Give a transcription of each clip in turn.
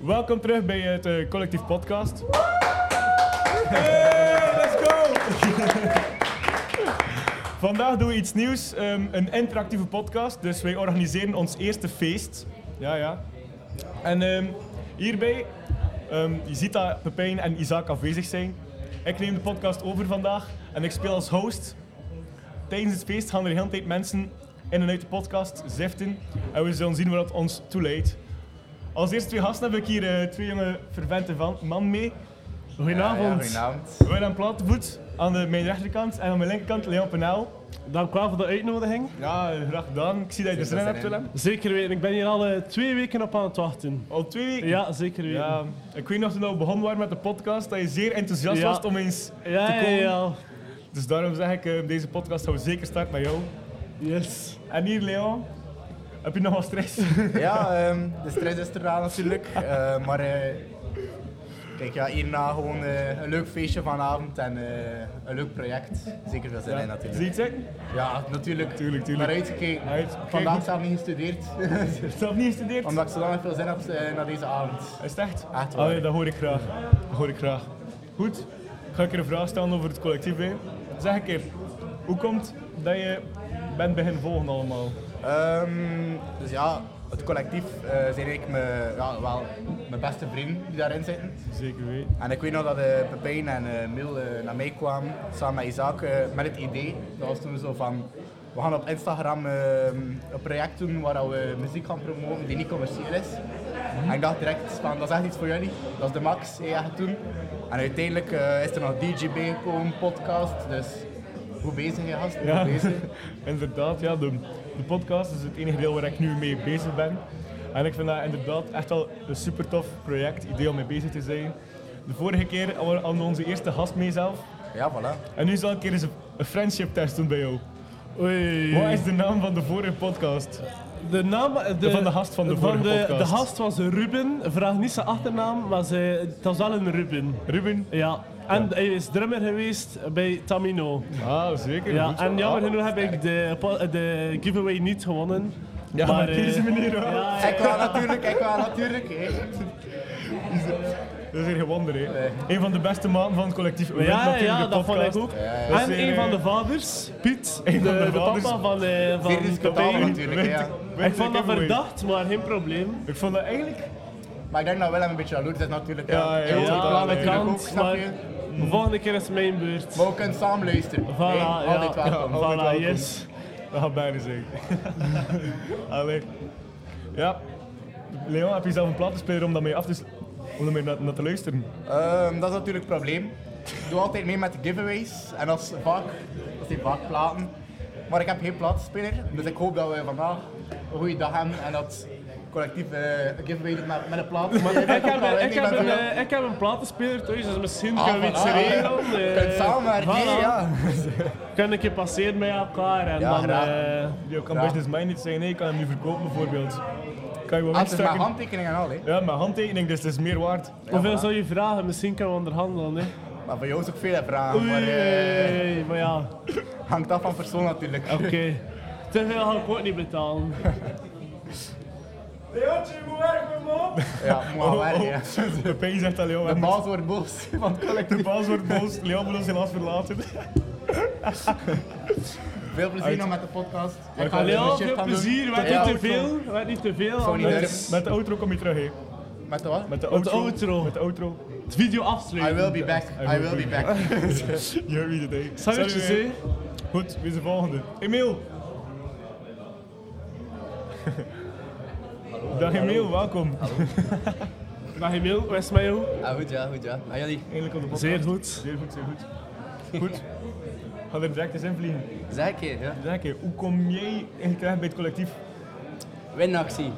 Welkom terug bij het eh, Collectief Podcast. let's go! Vandaag doen we iets nieuws, ehm, een interactieve podcast. Dus wij organiseren ons eerste feest. Ja, ja. En ehm, hierbij, ehm, je ziet dat Pepijn en Isaac afwezig zijn. Ik neem de podcast over vandaag en ik speel als host. Tijdens het feest gaan er de hele tijd mensen in en uit de podcast ziften. En we zullen zien waar dat ons toe leidt. Als eerste twee gasten heb ik hier eh, twee jonge vervente van, man mee. Goedenavond. Ja, goedenavond. Willem Plattevoet aan de, mijn rechterkant en aan mijn linkerkant Leon Penel. Dank u wel voor de uitnodiging. Ja, eh, graag gedaan. Ik zie dat je er Zin zin in dat hebt, erin. Willem. Zeker weten, ik ben hier al eh, twee weken op aan het wachten. Al twee weken. Ja, zeker weten. Ja, Ja, ik weet nog toen we begonnen waren met de podcast, dat je zeer enthousiast Ja. was om eens te ja, ja. komen. Dus daarom zeg ik, eh, deze podcast gaan we zeker starten met jou. Yes. En hier, Leon, heb je nog wat stress? Ja, ehm, de stress is er wel natuurlijk. eh, maar eh, kijk, ja, hierna gewoon eh, een leuk feestje vanavond en eh, een leuk project. Zeker veel zin in Zie je natuurlijk. iets zeggen? Ja, natuurlijk. Tuurlijk, tuurlijk. Maar uitgekeken. Uit- Vandaag kijk. zelf niet gestudeerd. Heb je zelf niet gestudeerd? Omdat ik zodanig veel zin heb eh, naar deze avond. Is het echt? Echt Ah, waar. Allee, Oh, dat hoor ik graag. Dat hoor ik graag. Goed, ga ik er een vraag stellen over het collectief bij. Zeg een keer, hoe komt dat je bent beginnen volgen allemaal? Ehm, dus ja, het collectief eh, zijn eigenlijk mijn, ja, wel mijn beste vrienden die daarin zitten. Zeker weten. En ik weet nog dat eh Pepijn en eh Mil eh, naar mij kwamen, samen met Isaac, eh, met het idee. Dat was toen zo van, we gaan op Instagram eh, een project doen waar dat we muziek gaan promoten die niet commercieel is. Mhm. En ik dacht direct van, dat is echt iets voor jullie. Dat is de max, eh, echt doen. En uiteindelijk eh, is er nog DJ bij gekomen, podcast, dus goed bezig je gast, Ja, goed bezig. inderdaad. Ja, de, de podcast is het enige deel waar ik nu mee bezig ben. En ik vind dat inderdaad echt wel een super tof project, idee om mee bezig te zijn. De vorige keer hadden we onze eerste gast mee zelf. Ja, voilà. En nu zal ik eens een, een friendship test doen bij jou. Oei. Wat is de naam van de vorige podcast? De naam... eh, De, van de gast van de vorige de, podcast. de gast was Ruben. Vraag niet zijn achternaam, maar ze, het was wel een Ruben. Ruben? Ja. En hij is drummer geweest bij Tamino. Ah, zeker. Ja, goed zo. en jammer Ah. genoeg heb ik de, po- de giveaway niet gewonnen. Ja, maar, op eh, deze manier wel. ja, Ik wel natuurlijk, ik wel natuurlijk. hè. Dat is hier geen wonder, hè. Een van de beste maanden van het collectief. Wint Ja, natuurlijk ja, de dat vond ik podcast. ook. Dat is, En eh, een van de vaders, Piet, de, een van de de vaders. papa van, eh Zeer van discutabel Pepijn. natuurlijk, hè, ja. Ik vond dat giveaway. verdacht, maar geen probleem. Ik vond dat eigenlijk... Maar ik denk dat wel een beetje jaloers is natuurlijk. Ja, ja, Heel ja, goed Ja, plan dat nee. natuurlijk kan, ook, snap maar je? de volgende keer is het mijn beurt. Mm. Maar we kunnen samen luisteren. Voilà, Hey, ja. Altijd Ja, welkom. altijd Voilà, welkom. yes. Dat gaat bijna zijn. Allee. Ja. Leon, heb je zelf een platenspeler om daarmee af te... s- Om daarmee naar, naar te luisteren? Ehm, dat is natuurlijk het probleem. Ik doe altijd mee met de giveaways. En als vaak, dat zijn vaak platen. Maar ik heb geen platenspeler. Dus ik hoop dat we vandaag een goede dag hebben. En dat collectief eh, een giveaway doet met, met een plaat. Maar Ik heb, ik, heb een, eh, ik heb een platenspeler thuis, dus misschien Ah, kunnen we iets voilà. regelen. Je eh, kunt samenwerken, voilà. ja. Kunnen een keer passeren met elkaar en Ja, dan... graag. eh, Je kan Ja. business minded zijn, nee, ik kan hem nu verkopen bijvoorbeeld. Kan je wel Ah, Het is met wegstukken? handtekeningen en al, hè. Ja, mijn handtekening, dus het is meer waard. Hoeveel voilà. zou je vragen? Misschien kunnen we onderhandelen, hè. Maar voor jou is ook veel hè, vragen. Oei, Maar eh, maar ja, hangt af van persoon natuurlijk. oké. Te veel ga ik ook niet betalen. Leontje, moet werken, man! Ja, moet Oh, wel werken. ja. De pijn Oh, zegt dat De Leon werkt. baas wordt boos van het De collectief. baas wordt boos, Leon moet ons helaas verlaten. Veel plezier nog met de podcast. Ik Allee, even een al shift veel gaan doen. plezier. Werd Ja, niet te veel. Werd niet te veel. Zou niet anders- durven. Met de outro kom je terug, hè. Met de wat? Met de Met de outro. outro. Met de outro. Het video I afsluiten. will be back. I will be back. Je weet het, hè. Zou je Sorry, hè. zeggen? Goed, wie is de volgende? Emiel! Dag Emiel, welkom. Dag Emil, hoe is het met jou? Ah, goed ja, goed ja. En jullie? Eindelijk op de podcast. Zeer goed. Zeer goed, zeer goed. Goed. Ga er direct eens in vliegen. Zeg een keer, ja. Zeg een keer, hoe kom jij eigenlijk terecht bij het collectief? Winactie.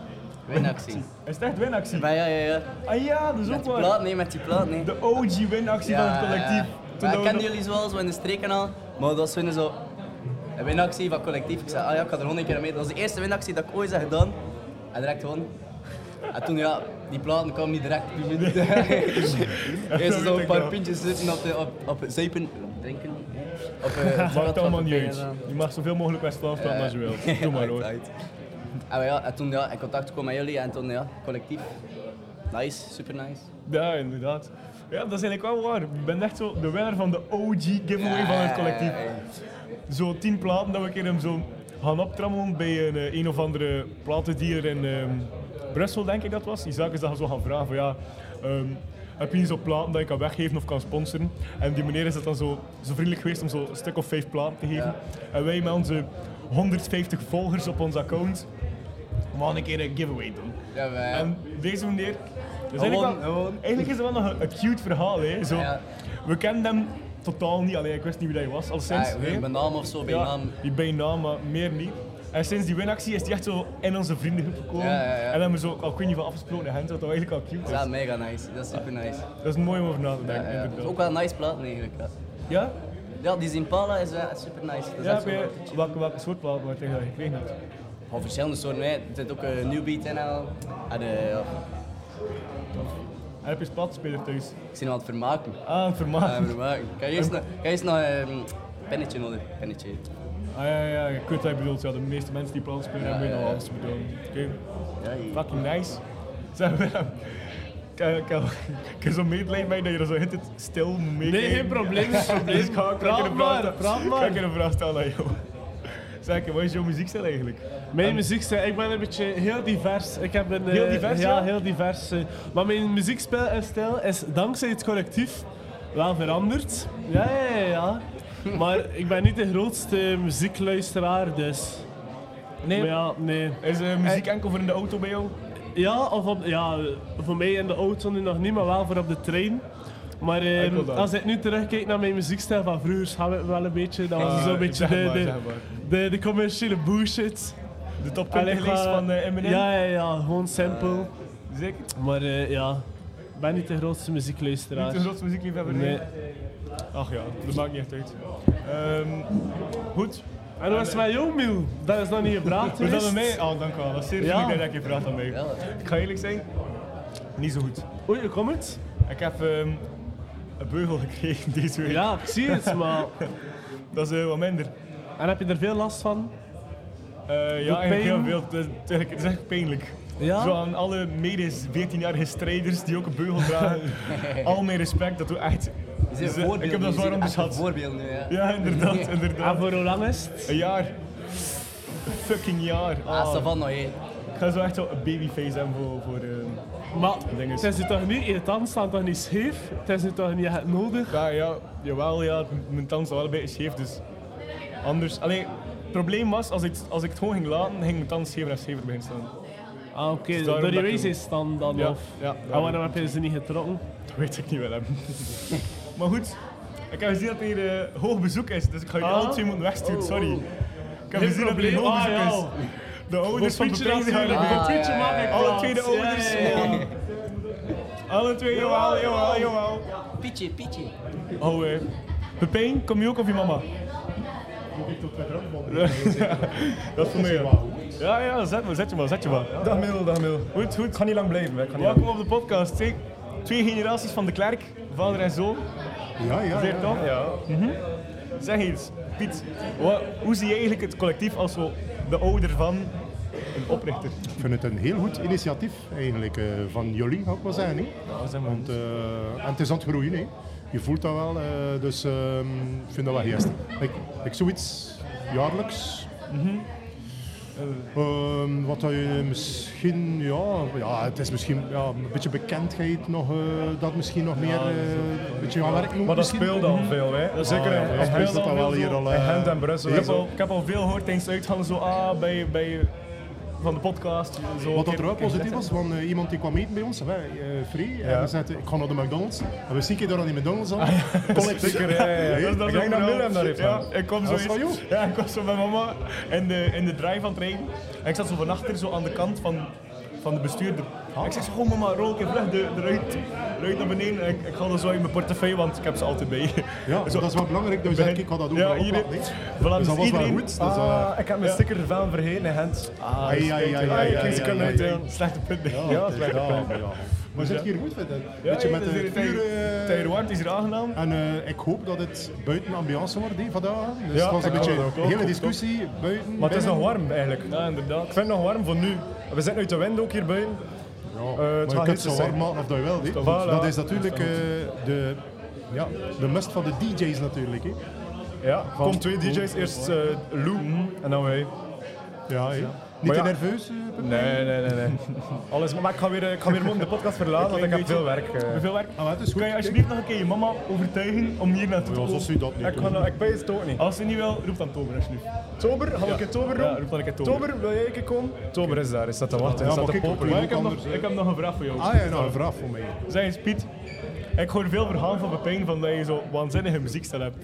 Winactie. Is het echt winactie? Maar ja, ja, ja. Ah ja, dat is Met ook die waar. plaat, nee, met die plaat, nee. De OG winactie van het ja. collectief. Toen Maar dat ik we kende nog- jullie zo al, zo in de streek en al. Maar dat was toen zo... Een winactie van collectief. Ik zei, ah ja, ik ga er honderd keer mee. Dat was de eerste winactie dat ik ooit heb gedaan. En direct gewoon. En toen, ja, die platen kwamen niet direct. Dus Eerst weet zo ik een paar nog. pintjes zitten op, de, op, op het zuipen. Drinken. Op, eh, het Maakt vat van allemaal niet Pepijn en uit. zo. Je mag zoveel mogelijk West-Vlaams praten als je Eh, wilt. Doe maar hoor. Ah, Uit. En, ja, en toen ja, in contact gekomen met jullie en toen ja, collectief. Nice, super nice. Ja, inderdaad. Ja, dat is eigenlijk wel waar. Ik ben echt zo de winnaar van de OG giveaway van het collectief. Zo tien platen dat we een keer hem zo gaan optrammelen bij een, eh, een of andere platendealer in ehm, Brussel, denk ik dat was. Die zaken is dat zo gaan vragen van ja, ehm, heb je niet zo'n platen dat je kan weggeven of kan sponsoren? En die meneer is dat dan zo, zo vriendelijk geweest om zo een stuk of vijf platen te geven. En wij met onze 150 volgers op ons account, we gaan een keer een giveaway doen. Ja, wij. En deze meneer. Dus Gewoon, eigenlijk, wel- gewoon. eigenlijk is het wel nog een, een cute verhaal. Hè? Zo, Ja. We kenden hem totaal niet. Allee, ik wist niet wie hij was. Al sinds, Ja, hè. bij naam of zo, bij Ja, naam. Die bij naam, maar meer niet. En sinds die winactie is hij echt zo in onze vriendengroep gekomen. Ja, ja, ja. En hebben we zo, al kun je niet van afgesproken in Gent, wat dat eigenlijk al cute Ja, is. mega nice. Dat is super nice. Dat is mooi om over na te denken, Ja, ja. inderdaad. Ook wel een nice plaat eigenlijk. Ja, Ja? ja die Zimpala is eh, super nice. Dat is Ja, echt zo heb je- wat- welke, welke soort plaat wordt tegen dat je gekregen hebt? Van verschillende soorten. hè. Er zit ook een new beat in al. En, eh, ja, En heb je een platenspeler thuis? ik zie hem aan het vermaken. Ah, een vermaak. Ja, vermaken. Kan je eerst nog- kan je eerst nog een pennetje nodig? Pennetje. Ah ja, ja, ik weet wat je bedoelt. Ja, de meeste mensen die platen spelen, Ja, hebben ja, nog ja. alles te bedoelen. Oké. Ja, je- Fucking nice. Zeg Willem, ik- ik- ik heb zo medelijden mee dat je er zo hit het stil mee Nee, geen probleem, geen probleem. Dus ik ga ik ga Praat een vraag maar, stellen. praat Ik maar. ga een keer een vraag stellen aan jou. Zeg, wat is jouw muziekstijl eigenlijk? Mijn muziekstijl, ik ben een beetje heel divers. Ik heb een, eh, Heel divers, ja? heel divers. eh. maar mijn muziekstijl is dankzij het collectief wel veranderd. Ja, ja, ja. ja. Maar ik ben niet de grootste muziekluisteraar, dus... Nee. Maar ja, nee. Is eh, muziek enkel voor in de auto bij jou? Ja, of op, ja, voor mij in de auto nu nog niet, maar wel voor op de trein. Maar eh, Ah, Ik wil dat. als ik nu terugkijk naar mijn muziekstijl van vroeger, schaam ik me wel een beetje. Dat was Ah, zo'n beetje zeg de, maar, de, zeg maar. de, de commerciële bullshit. De top Allee, 20 lijst ga- van eh, Eminem? Ja, ja, ja, gewoon simpel. Zeker? Maar eh, ja, ik ben niet de grootste Niet muziekluisteraar. de grootste muziekliefhebber? Nee. Ach ja, dat maakt niet echt uit. Ehm, goed. En hoe is het met jou, Miel? Dat is nog niet gevraagd Is dat geweest. aan mij? Oh, dank u wel. Dat is zeer Ja. vriendelijk dat je vraagt aan mij. Ja. Ik ga eerlijk zijn, niet zo goed. Oei, hoe komt het? Ik heb ehm, een beugel gekregen deze week. Ja, ik zie het, maar... Dat is eh, wat minder. En heb je er veel last van? Eh Doet ja, eigenlijk heel pijn? veel. Het is, het is echt- het is echt pijnlijk. Ja? Zo aan alle mede 14-jarige strijders die ook een beugel dragen. Al mijn respect, dat doet echt... Je ziet Dus, eh, een voorbeeld ik heb nu, dat je ziet zwaar echt Een onderschat. voorbeeld nu, ja. Ja, inderdaad, inderdaad. En voor hoe lang is het? Een jaar. Een fucking jaar. Ah, Ah, Savan nog één. ik ga zo echt zo een babyface hebben voor... voor ehm, Maar ding is- het is nu toch niet, je tanden staan toch niet scheef? Het is nu toch niet echt nodig? Ja, ja, jawel, ja, het- mijn tand is wel een beetje scheef, dus anders... Allee, het probleem was, als ik, als ik het gewoon ging laten, ging mijn tand schever en schever beginnen staan. Dus Ah, oké, daarom door die dat ik- wijsheidstand dan, Ja, of? Ah, ja, en daarom. waarom heb je ze niet getrokken? Dat weet ik niet wel, hè. maar goed, ik heb gezien dat hier eh, hoog bezoek is, dus ik ga je Ah? alle twee moeten wegsturen, sorry. Ik heb Geen gezien dat hier probleem. hoog Ah, bezoek ja. is. De ouders van Voor Pietje Pepijn gaan natuurlijk, erbij. voor Pietje Ah, ja, maak ik ja, Alle plaats. twee de Ja, ja, ouders. ja, ja. Alle twee, jawel, jawel, jawel. Pietje, Pietje. Oh, eh. Pepijn, kom je ook of je mama? Dat is voor mij, ja. Ja, ja, zet maar, zet je maar, zet je maar. Dag Mil, dag Mil. Goed, goed. Ik ga niet lang blijven, hè. ik ga niet Welkom op de podcast. Twee, twee generaties van de Klerk, vader en zoon. lang. Ja, ja, Zeer tof. Mhm. ja. Zeg eens, Piet, wa- hoe zie je eigenlijk het collectief als zo de ouder van een oprichter? Ik vind het een heel goed initiatief eigenlijk, eh, van jullie, zou ik wel zeggen. hè. zeg Want, eh, en het is aan het groeien, hè. je voelt dat wel, eh, dus ehm, ik vind dat wel juist. Ik, ik zoiets jaarlijks. Ehm, wat dat je misschien, ja, ja, het is misschien ja, een beetje bekendheid nog, eh, dat misschien nog meer, eh, een beetje gaan werken. Maar dat misschien. speelde al veel, hè? Ah, Zeker, ja, dat in speelde Gent dat al dat wel veel hier zo. al. In eh, Gent en Brussel. Ik heb, al, ik heb al veel gehoord tijdens de uitgang, zo ah, bij, bij, van de podcast. Zo, Wat dat oké, er wel oké, positief zeg. was, want eh, iemand die kwam eten bij ons, wij, eh Free, en we zeiden, ik ga naar de McDonald's. En we zien keer daar aan die McDonald's aan. Collectief. Zeker, ja, ja, ja. Dus Ik is denk ook dat wel- Willem dat heeft ja, gedaan. ik kwam zo Dat is van eens- jou. ja, ik was zo met mama in de, in de drive aan het rijden. En ik zat zo van achter, zo aan de kant van, van de bestuurder. Ah. En Ik zeg zo, oh mama, rol ik even vlug de, eruit, eruit naar beneden. En ik, ik haal dat zo in mijn portefeuille, want ik heb ze altijd bij. Ja, Zo, dat is wel belangrijk, dus ik ga dat ook Ja, wel hier- oplappen, hè. voilà, Dus dat was dus wel iedereen- goed. Dus, eh, ik heb mijn sticker ervan vergeten in Gent. ai, ai, ai, ai, Geen ai, seconde ai, uit, ai. Ah, hè. slechte punt. denk ik. Ja, dat is wel ja, maar ja. Maar zit hier goed, vind ik. Ja, Beetje met dat is de hier tegen- vuur... eh, tegen Eduard, die is er aangenaam. En eh, ik hoop dat het buiten ambiance wordt die vandaag. Dus Ja, het was een ik beetje hoop dat ook. een hele discussie buiten. Maar het is binnen. nog warm eigenlijk. Ik Ja, inderdaad. vind het nog warm voor nu. We zitten uit de wind ook hier buiten. Ja, het maar je gaat kunt zo hits warm zijn. maken of dat je wil. hè. wel goed. Dat is natuurlijk eh, de, ja, de must van de DJ's natuurlijk. hè. Ja, Van- kom twee DJ's. Eerst eh, Lou en dan wij. Ja, hè. Niet Maar te ja. nerveus? eh, Pep? Nee, nee, nee. nee. Alles, maar ik ga weer, eh, ik ga weer morgen de podcast verlaten, want ik heb veel werk. eh. Hoeveel werk? Ah, maar het is goed. Kan je alsjeblieft nog een keer je mama overtuigen om hier naartoe te Ja, komen? zoals u dat niet Ik, doet. ga, nou- ik ben het ook niet. Als ze niet wil, roep dan Tober alsjeblieft. Tober, gaan we een keer Tober doen? Ja, roep dan een keer Tober. Tober, wil jij een keer komen? Tober is daar, is dat te wachten? Ja, is dat maar te kijk, popelen? we doen Maar ik heb, nog, anders, hè. ik heb nog een vraag voor jou. Ah ja, nou een vraag voor mij. Zeg eens Piet, ik hoor veel verhalen van Pepijn van dat je zo waanzinnige muziekstijl hebt.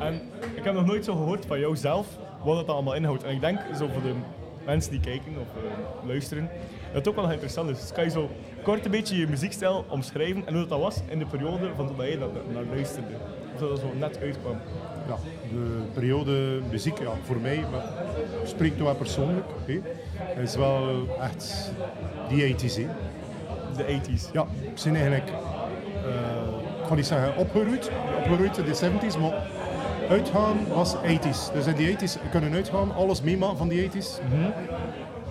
En ik heb nog nooit zo gehoord van jou zelf wat dat allemaal inhoudt. En ik denk zo voor de mensen die kijken of eh, luisteren, dat het ook wel nog interessant is. Dus kan je zo kort een beetje je muziekstijl omschrijven en hoe dat, dat was in de periode van toen dat jij dat naar luisterde. Of dat dat zo net uitkwam. Ja, de periode muziek, ja, voor mij, maar spreekt wel persoonlijk, hè, is wel echt die 80s. hè. De 80s. Ja, ik ben eigenlijk, eh, ik ga niet zeggen opgeroeid, opgeroeid in de 70s, maar uitgaan was 80s. Dus in die 80s kunnen uitgaan, alles meemaken van die 80s. Mhm.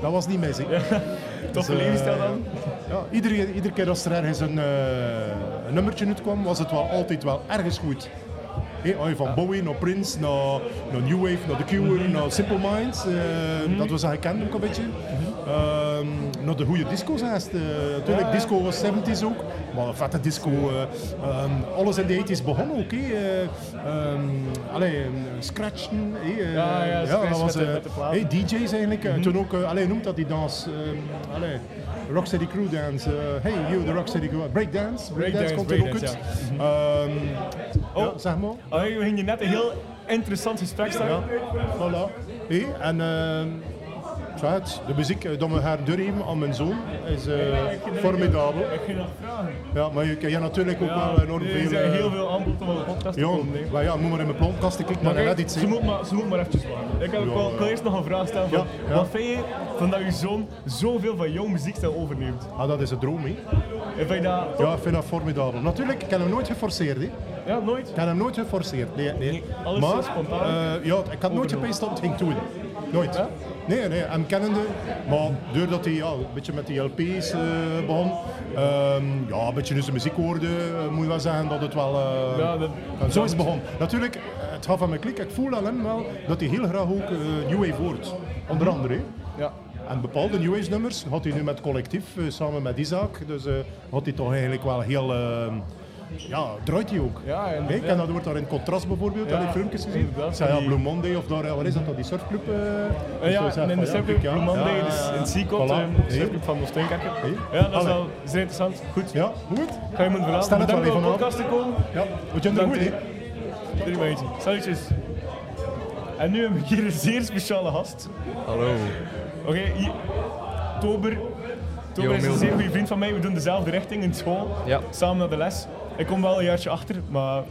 Dat was niet mijn zin. Toffe Dus, eh, levensstijl dan? Ja, iedere, iedere keer als er ergens een, eh, een nummertje uitkwam, was het wel altijd wel ergens goed. Hé, als je van Bowie naar Prince, naar, naar New Wave, naar The Cure, Mhm. naar Simple Minds, eh, dat was gekend ook een beetje. Mhm. Ehm, naar de goede disco's haast. eh, natuurlijk, disco was 70s ook, maar een vette disco. eh, ehm, alles in de 80s begon ook. hè. eh, ehm, allee, eh, scratchen. hè, eh, Ja, ja, scratch dat was, met de- eh, met de platen. Mhm. hé, DJ's eigenlijk. eh, Toen ook, eh, allee, noemt dat die dans? ehm allee, Rocksteady Crew Dance. eh, hey, you, de Rocksteady Crew. Breakdance. Breakdance Breakdance, komt er ook uit. breakdance, Mhm. Ehm, ja, Oh. zeg maar. Oh, we gingen net een heel interessant gesprek starten. Ja, voilà. Hé, en ehm, zo het, de muziek eh, dat we haar doorgeven aan mijn zoon is eh, formidabel. Ik ging nog vragen. Ja, maar je kent natuurlijk ook wel enorm er veel... zijn eh, heel veel aanbod om op de podcast te ja, komen. hè. maar ja, moet maar in mijn plomkast kijken, maar Oké, net iets ze, zien. moet maar, ze moet maar eventjes wachten. Ik heb ook wel, ik wil eerst nog een vraag stellen. Van, Ja, ja. Wat vind je van dat je zoon zoveel van jouw muziekstijl overneemt? Ah, dat is een droom, hè. En vind je dat top? Ja, ik vind dat formidabel. Natuurlijk, ik heb hem nooit geforceerd, hè. Ik Ja, nooit? heb hem nooit geforceerd, nee, nee. Nee, alles maar, zo spontaan. eh, ja, ik had nooit gepijst dat het ging doen. Nooit. Nee, nee, hem kennende. Maar doordat hij ja, een beetje met die LP's eh, begon, ehm, ja, een beetje dus de muziek hoorde, eh, moet je wel zeggen dat het wel... eh, Ja, dat- en zo is het begonnen. Natuurlijk, eh, het gaat van mijn klik. Ik voel aan hem wel dat hij heel graag ook eh New Wave hoort. Onder andere. hè. Ja. En bepaalde New Age nummers had hij nu met collectief, eh, samen met Isaac. Dus eh, had hij toch eigenlijk wel heel... eh, ja, draait hij ook. Ja, en- Hè, ik en dat wordt daar in contrast bijvoorbeeld, Ja, heb ik filmpjes gezien. inderdaad, Zij ja, die- Blue Monday of daar, eh, waar is dat, dan, die surfclub? eh? Dus ja, hij zegt en in van, de ja, circuit kijk, ja. Blue Monday, Ja, ja, dus ja. in Seacot, Voilà. ehm, de circuit van Nosteenkerken. Ja, dat is Allee. wel zeer interessant. Goed, Ja, goed. ga je me verlaten. Stel het Bedankt wel om op de even podcast te komen. Ja, want je hebt er Dank goed, u. hè? Drie minuutjes. Salutjes. En nu heb ik hier een zeer speciale gast. Hallo. Oké, hier- Tober. Tober Yo, is een Milde. zeer goede vriend van mij. We doen dezelfde richting in school. Ja. Samen naar de les. Ik kom wel een jaartje achter, maar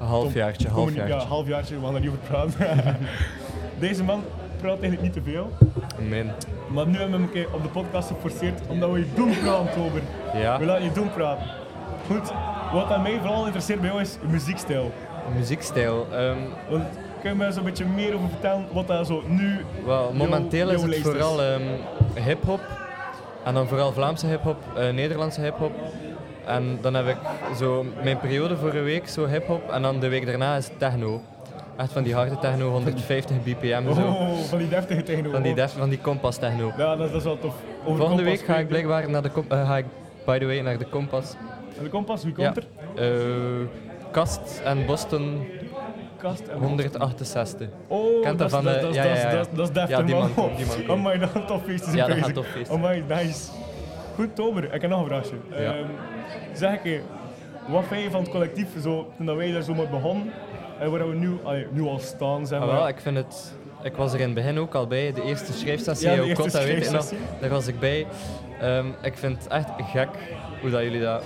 Een halfjaartje, gewoon ja, halfjaartje. halfjaartje, we gaan daar niet over praten. Deze man praat eigenlijk niet te veel. Min. Maar nu hebben we hem een keer op de podcast geforceerd omdat we je doen praten, Tober. Ja. We laten je doen praten. Goed, wat aan mij vooral interesseert bij jou is je muziekstijl. Muziekstijl. ehm, Want kun je mij zo'n beetje meer over vertellen wat daar zo nu... wel, momenteel jouw is het lijst is. vooral ehm, hip-hop. En dan vooral Vlaamse hip-hop, eh, Nederlandse hip-hop. En dan heb ik zo mijn periode voor een week zo hip-hop. En dan de week daarna is het techno. Echt van die harde techno, 150 bpm zo. Oh, van die deftige tegenover. Van die, def- van die kompas techno. Ja, dat, dat is wel tof. Over Volgende Kompas week ga ik spreken. blijkbaar naar de kom- eh, ga ik, by the way, naar de kompas. En de kompas, wie komt er? Eh, Kast en Boston Kast en 168. Oh, Kent dat dat is- van de- dat is- ja, dat is- ja, ja. dat is- dat is deftig, Ja, die man. Oh, man komt, die man komt. Amai, dat gaat tof feest zijn Ja, dat bezig. gaat tof feest zijn. Amai, nice. Goed, Tober, ik heb nog een vraagje. Ehm, zeg een keer, wat vind je van het collectief, zo, toen dat wij daar zo mee begonnen, en waar we nu, allee, nu al staan, zeg Ah, maar. wel, ik vind het... Ik was er in het begin ook al bij, de eerste schrijfsessie, Ja, de hoe eerste komt dat weet ik nog, schrijfsessie. daar was ik bij. Ehm, ik vind het echt gek hoe dat jullie dat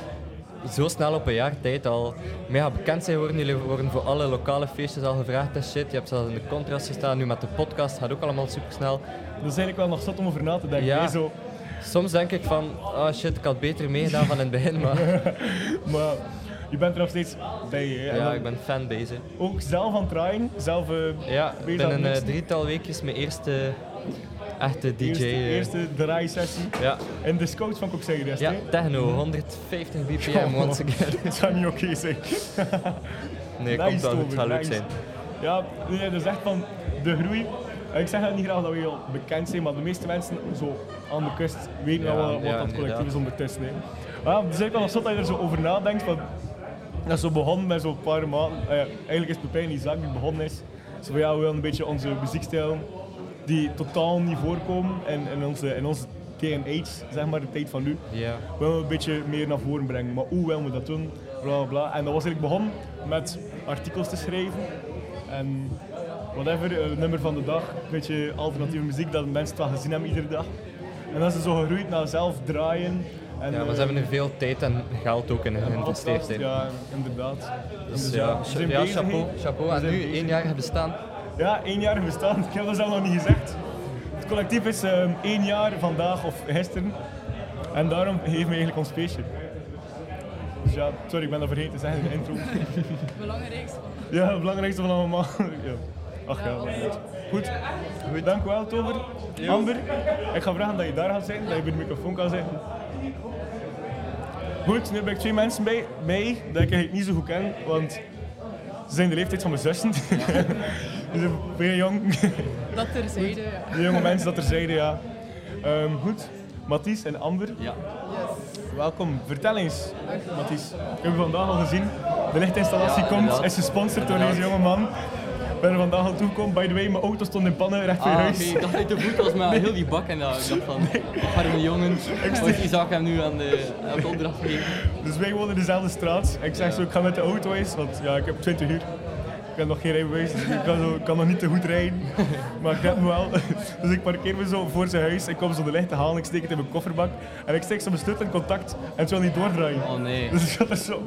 zo snel op een jaar tijd al mega bekend zijn geworden. Jullie worden voor alle lokale feestjes al gevraagd en shit. Je hebt zelfs in de contrast gestaan, nu met de podcast, gaat ook allemaal supersnel. dat is eigenlijk wel nog zat om over na te denken. Ja. hè, Zo, Soms denk ik van, ah shit, ik had beter meegedaan van in het begin, maar maar je bent er nog steeds bij. Hè? En ja, dan ik ben fan bezig. Ook zelf aan het draaien, zelf... eh, Ja, ben je binnen dat een niks? drietal weekjes mijn eerste echte DJ. Eerste, eh, eerste draaisessie. ja. En de scout van Coxegrest, ja, hè? techno, 150 bpm once again. Dat zou niet oké zijn. Nee, Nice, komt wel goed, Toby, het gaat leuk nice. zijn. Ja, nee, dat is echt van de groei. En Ik zeg dat niet graag dat we heel bekend zijn, maar de meeste mensen zo aan de kust weten Ja, wel wat, wat ja, dat collectief inderdaad. is ondertussen. Hè. Maar ja, het is eigenlijk wel zot dat je er zo over nadenkt. Van, dat is zo begonnen met zo'n paar maanden. eh, eigenlijk is Pepijn die zaak die begonnen is. Zo van ja, we willen een beetje onze muziekstijl die totaal niet voorkomen in, in onze, in onze TNH, zeg maar, de tijd van nu Ja. willen we een beetje meer naar voren brengen. Maar hoe willen we dat doen? Bla bla, bla. En dat was eigenlijk begonnen met artikels te schrijven. En whatever, eh, nummer van de dag, een beetje alternatieve muziek dat mensen het wel gezien hebben iedere dag. En dat is zo gegroeid naar zelf draaien. En, ja, maar ze eh, hebben er veel tijd en geld ook in een podcast. geïnvesteerd. in. Ja, inderdaad. Dus Dus ja, we cha- zijn ja, bezig, chapeau, hè. chapeau. We En zijn nu bezig. één jaar bestaan. Ja, één jaar bestaan. Ik heb dat zelf nog niet gezegd. Het collectief is ehm, één jaar vandaag of gisteren. En daarom geven we eigenlijk ons feestje. Dus ja, sorry, ik ben dat vergeten te zeggen in de intro. Belangrijk. Ja, het belangrijkste van allemaal. Ja. Ach ja, maar goed. Goed. Dank u wel, Tover. Amber, ik ga vragen dat je daar gaat zijn, dat je bij de microfoon kan zitten. Goed, nu ben ik twee mensen bij mij dat ik eigenlijk niet zo goed ken, want ze zijn de leeftijd van mijn zussen. Dus Ze zijn vrij jong, Dat terzijde, ja. de jonge mensen dat er zeiden, ja. Ehm, goed, Mathies en Amber, Yes. welkom. Vertel eens, Mathies. Ik heb je vandaag al gezien. De lichtinstallatie komt, is gesponsord door deze jonge man. Ik ben er vandaag al toegekomen. By the way, mijn auto stond in pannen recht voor je Ah, huis. oké, ik dacht dat hij te voet was met heel die bak en dat, ik dacht van, arme jongen, want Isaac hem nu aan de, aan de opdracht gegeven. Dus wij wonen in dezelfde straat. Ik zeg zo, ik ga met de auto eens, want ja, ik heb 20 uur. Ik heb nog geen rijbewijs, dus ik kan, zo, ik kan nog niet te goed rijden. Maar ik heb hem wel. Dus ik parkeer me zo voor zijn huis. Ik kom zo de lichten halen, ik steek het in mijn kofferbak. En ik steek zo mijn sleutel in contact en het wil niet doordraaien. Oh nee, Dus ik zat er zo...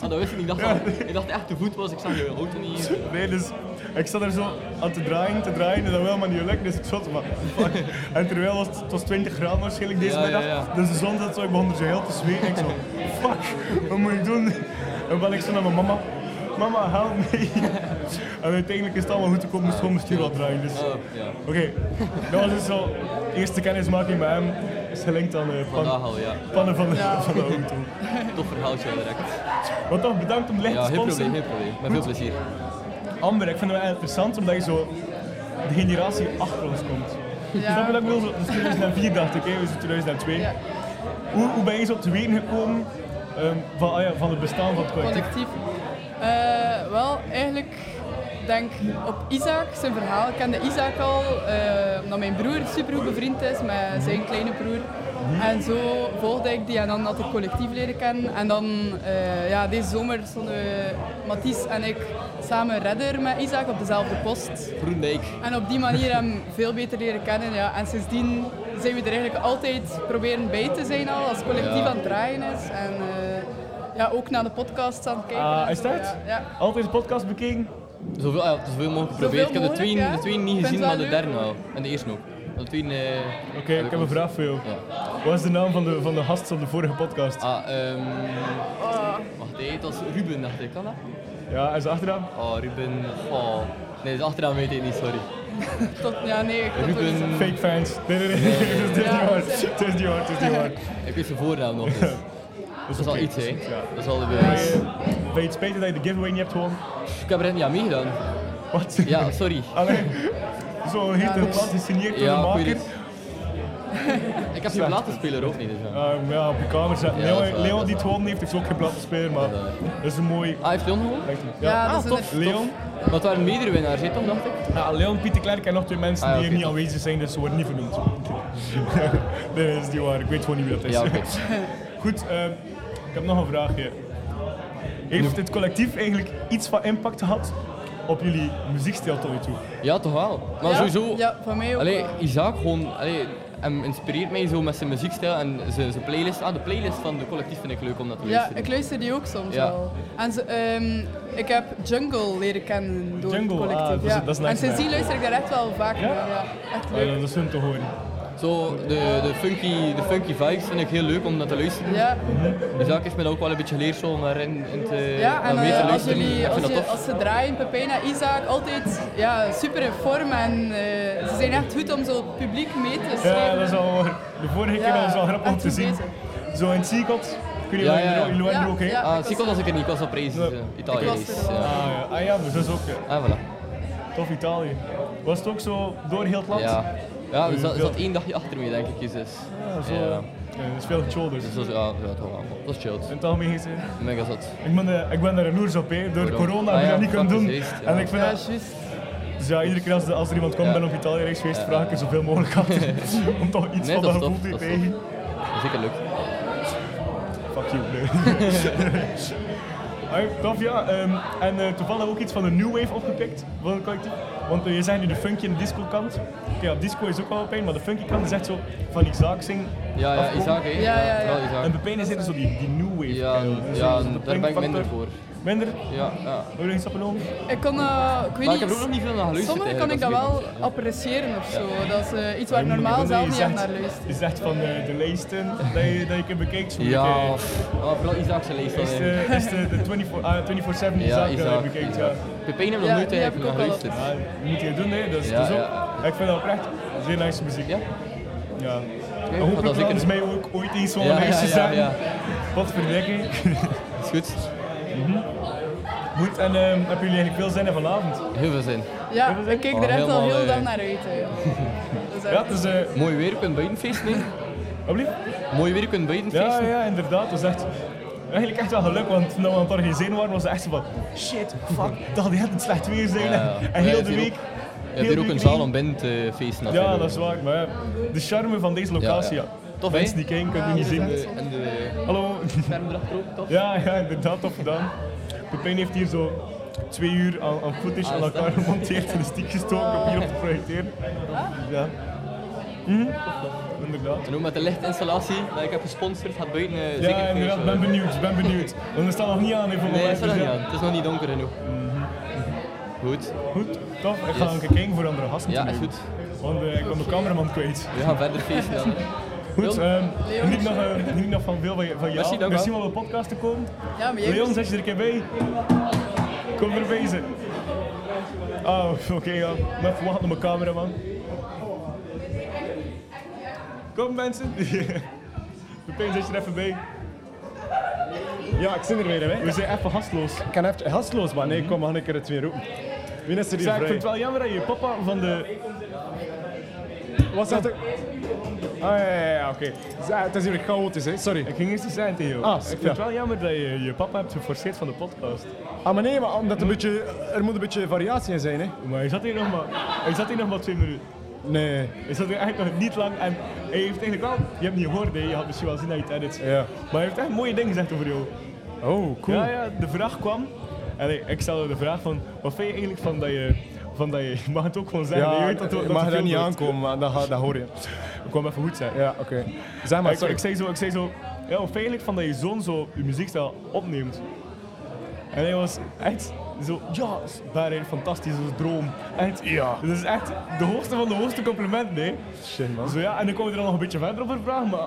ah, dat wist ik niet. Ik dacht, van, ik dacht echt te voet was, ik zag je auto niet hier. Nee, dus ik zat er zo aan te draaien, te draaien en dat wil maar niet lukken, dus ik zat maar. fuck. En terwijl was het, het was 20 graden waarschijnlijk deze Ja, ja, middag, ja. dus de zon zat zo, ik begon er zo heel te zweten. Ik zo, fuck, wat moet ik doen? En bel ik zo naar mijn mama, mama, help me. En uiteindelijk is het allemaal goed gekomen, moest gewoon mijn stuur wat draaien. Dus. Oh, ja, Oké, dat was dus zo eerste kennismaking bij hem. Is gelinkt aan de pan- vandaag al, ja. pannen van de, van de auto. Tof verhaaltje direct. Maar toch, bedankt om licht Ja, te geen probleem, sponsoren. geen probleem. Met veel plezier. Amber, ik vind het wel interessant omdat je zo de generatie achter ons komt. Ja. Snap je dat ik bedoel? Zo, dus Dat is 2004 dacht ik, hè? we zijn 2002. Ja. Hoe, hoe ben je zo te weten gekomen ehm, van, ah ja, van het bestaan van het collectief? collectief. Eh, wel, eigenlijk denk op Isaac, zijn verhaal. Ik kende Isaac al, eh, omdat mijn broer supergoed bevriend is met zijn kleine broer. En zo volgde ik die en dan had ik collectief leren kennen. En dan, eh, ja, deze zomer stonden Mathies en ik samen redder met Isaac op dezelfde post. Groendijk. En op die manier hem veel beter leren kennen. Ja. En sindsdien zijn we er eigenlijk altijd proberen bij te zijn al, als collectief Ja. aan het draaien is. En eh, ja, ook naar de podcasts aan het kijken. Ah, en is zo, dat? Ja. ja. Altijd de podcast bekeken? Zoveel, ja, zoveel mogelijk geprobeerd. Ik heb de mogelijk, twee, ja. de twee niet Vind gezien, het maar wel de leuk, derde hoor. wel. En de eerste ook. De tweede... eh, Oké, ik heb een vraag voor jou. Ja. Wat is de naam van de, van de gast op de vorige podcast? Ah, ehm... Wacht, hij heet als Ruben, dacht ik. Kan dat? Ja, en zijn achternaam? Oh, Ruben... Oh. Nee, de achternaam weet ik niet, sorry. Tot, ja, nee, ik kon het ook niet zeggen. Ruben... Fake fans. Nee, nee, nee, het is niet Ja, waar. dat is- Het is niet waar, het is niet waar. Ik weet zijn voornaam nog eens. Dat is al oké, iets, hè? ja. Dat is al de bewijs. Ben je het spijtig dat je de giveaway niet hebt gewonnen? Ik heb er net niet aan meegedaan. Wat? Ja, sorry. Allee, zo heeft een plaat gesigneerd door de Ja, ik maker. weet Ik heb geen platenspeler ook niet. Dus ja. Ehm, ja, op de kamer zetten. Ja, dat is Leon, waar, Leon dat is die het gewonnen heeft, heeft ook geen platte speler, maar dat is een mooi... Ah, heeft Leon gewonnen? Ja, dat is ah, tof. een- Leon, Maar het waren meerdere winnaars, hè, toch, dacht ik? ja, Leon, Pieter Klerk en nog twee mensen Ah, ja, die oké, hier niet tof. aanwezig zijn, dus ze worden niet vernoemd. nee, dat is niet waar. Ik weet gewoon niet wie dat is. Ja, oké. Goed, ehm, ik heb nog een vraagje. Heeft dit collectief eigenlijk iets van impact gehad op jullie muziekstijl tot nu toe? Ja, toch wel. Maar Ja? sowieso... Ja, van mij ook. Allee, wel. Isaac gewoon... Allee, hem inspireert mij zo met zijn muziekstijl en zijn, zijn playlist. Ah, de playlist van de collectief vind ik leuk om dat te ja, luisteren. ik luister die ook soms Ja. wel. En ze, ehm, ik heb Jungle leren kennen door Jungle, het ah, collectief. dat is- ja. dat is nice, en sindsdien luister ik daar echt wel vaak naar. Ja, echt Ah, leuk. dat is hun te horen. Zo, de, de, funky, de funky vibes vind ik heel leuk om naar te luisteren. Ja, Die zaak heeft mij dat ook wel een beetje geleerd zo, om daarin in te, ja en naar mee te eh, als, luisteren. jullie, ik als, vind je, dat tof. als ze draaien, Pepijn en Isaac, altijd ja, super in vorm. En eh, ze zijn echt goed om zo het publiek mee te schrijven. Ja, dat is wel waar. De vorige keer Ja, was het wel grappig om echt te goed zien. bezig. Zo in het ziekot. Kun je Ja, wel ja. jullie waren er ook heen? Ja, Ah, ik Sikkel was ik er niet, ik was op reis. Nee. eh, Italië Ik was er reis. wel. Ja. Ah ja, ah, ja mijn zus ook. ja. Ah, voilà. Tof Italië. Was het ook zo door heel het land? Ja, ja er zat, er veel- zat één dagje achter me, denk ik. Dus, dus. Ja, zo. Ja. Ja. dat is veel shoulders. Dus In dat is, ja, ja, toch wel. Dat is chilled. het algemeen gezien. Mega zat. Ik ben, eh, ik ben er een oers op, hè. door Waarom? corona Ah heb ik ja, dat niet kunnen fuck doen. is juist, ja. En ik vind Ja, dat, juist. dus ja, iedere keer als, de- als er iemand komt, Ja. ben op Italië reis geweest, vraag ik er zoveel mogelijk achter. om toch iets Nee, van dat dat is tof, gevoel te dat is krijgen. Dat is zeker leuk. Fuck you, nee. Allee, tof, ja. Ehm, en eh, toevallig ook iets van de New Wave opgepikt van het collectief. Want eh, je zei nu de funky en de disco kant. Oké, ja, disco is ook wel pijn, maar de funky kant is echt zo van die zaakzing. Ja, ja, afkomen. Isaac, hè? Ja, ja, ja. Wel En Isaac. bij pijn is er zo dus die, die New Wave. Ja, keil. Dus ja, dat is de daar ben ik minder pijnfactor. voor. Minder? Ja, ja. Wil je er iets op genomen? Ik kon, eh, ik weet Maar niet, ik heb er ook nog niet veel naar geluisterd. sommigen kan ik eigenlijk, dat als wel weet niet. appreciëren of zo. Dat is eh, iets waar ik Ja, normaal je zelf zegt- niet echt naar luister. Je zegt van eh, de lijsten dat je, dat je kunt bekijken. Zo Ja, bekijken. ja vooral Isaac zijn leest dan. Is eigenlijk. de, is de, de 24 ah, 24-7 die Ja, zaak dat je Isaac. bekijkt? Isaac. Ja. Pepijn heeft nog Ja, nooit die heb ik eigenlijk naar ook al geluisterd. Ja, dat moet je doen, hè. Dat is, Ja, dat is ook- ja. Ik vind dat oprecht zeer nice muziek. Ja? Ja. Oké, gaat dat Hopelijk zeker. laten ze mij ook ooit eens zo'n Ja, ja, lijstje ja, zijn. ja. Wat verdekking. Is goed. Mhm. Goed, en ehm, hebben jullie eigenlijk veel zin in vanavond? Heel veel zin. Ja, ik keek Oh, er echt al helemaal, heel eh, lang naar uit. hè. Dus Ja, het is... eh, Mooi weer, je kunt buiten feesten. hè. alblieft. Mooi weer, je kunt buiten ja, feesten. ja, inderdaad. Het is echt... Eigenlijk echt wel geluk, want toen we aan het organiseren waren, was het echt zo van... Shit, fuck, dat had echt het slecht weer zijn. Ja. En heel Ja, de hier Je week... heel hebt hier de ook week een zaal niet. om binnen te feesten. Ja, natuurlijk. dat is waar. Maar ja, de charme van deze locatie, ja. Ja, Tof, hè? Mensen die kijken, kunnen niet zien. De- En de Hallo. scherm erachter ook, tof. Ja, ja, inderdaad, tof gedaan. Pepijn heeft hier zo twee uur aan, aan Ah, footage aan elkaar gemonteerd en een stiek gestoken om hierop te projecteren. Ja. Mhm. Inderdaad. Ah. En ook met de lichtinstallatie die ik heb gesponsord, gaat buiten eh, zeker een Ja, inderdaad, feestje ben worden. benieuwd, ben benieuwd. Want we staan nog niet aan, even Nee, het is er nog niet aan. Het is nog niet donker genoeg. Goed. Mhm. Goed, tof. Ik ga Yes. een keer kijken voor andere gasten. Ja, te is doen. goed. Want eh, ik ben mijn cameraman kwijt. We gaan verder feesten dan. hè. Goed, Leon? ehm, geniet nog, eh, geniet nog van veel van, je, van jou. Merci, dank wel. Merci om op de podcast te komen. ja, maar jij Leon, zet je er een keer bij. Kom erbij zitten. Oh, oké, ja. Maar even wachten op mijn cameraman. Kom mensen. Pepijn, zet je er even bij. Ja, ik zit er weer, hè. We zijn even gastloos. Ik kan even gastloos, maar nee, kom, mag ik er het weer roepen. Wie is er Ja, hier ik vind vrij? het wel jammer dat je papa van de... Wat zegt er? Ah, ja, ja, ja, oké. Ja, Het is hier chaotisch, hè. Sorry. Ik ging eerst iets zeggen tegen jou. Ah, ik vind ja. het wel jammer dat je je papa hebt geforceerd van de podcast. Ah, maar nee, maar omdat een beetje, er moet een beetje variatie in zijn, hè. Maar hij zat hier nog maar, hij zat hier nog maar twee minuten. Nee. Hij zat hier eigenlijk nog niet lang en hij heeft eigenlijk wel... Je hebt niet gehoord, hè. je had misschien wel zien dat je het edit. Ja. Maar hij heeft echt mooie dingen gezegd over jou. Oh, cool. Ja, ja, de vraag kwam. En ik- ik stelde de vraag van, wat vind je eigenlijk van dat je... Van dat je, je mag het ook gewoon zeggen. je Ja, weet dat, dat je mag het daar veel niet doet. aankomen, maar dat, ga- dat hoor je. Ik kwam even goed zijn. Ja, oké. Zeg maar, ik, sorry. ik zei zo, ik zei zo, ja, wat vind je eigenlijk van dat je zoon zo je muziekstijl opneemt? En hij was echt zo, ja, Barry, fantastische droom. Echt, Ja. Dat is echt de hoogste van de hoogste compliment, nee. Shit, man. Zo ja, en dan kon je er nog een beetje verder over vragen, maar...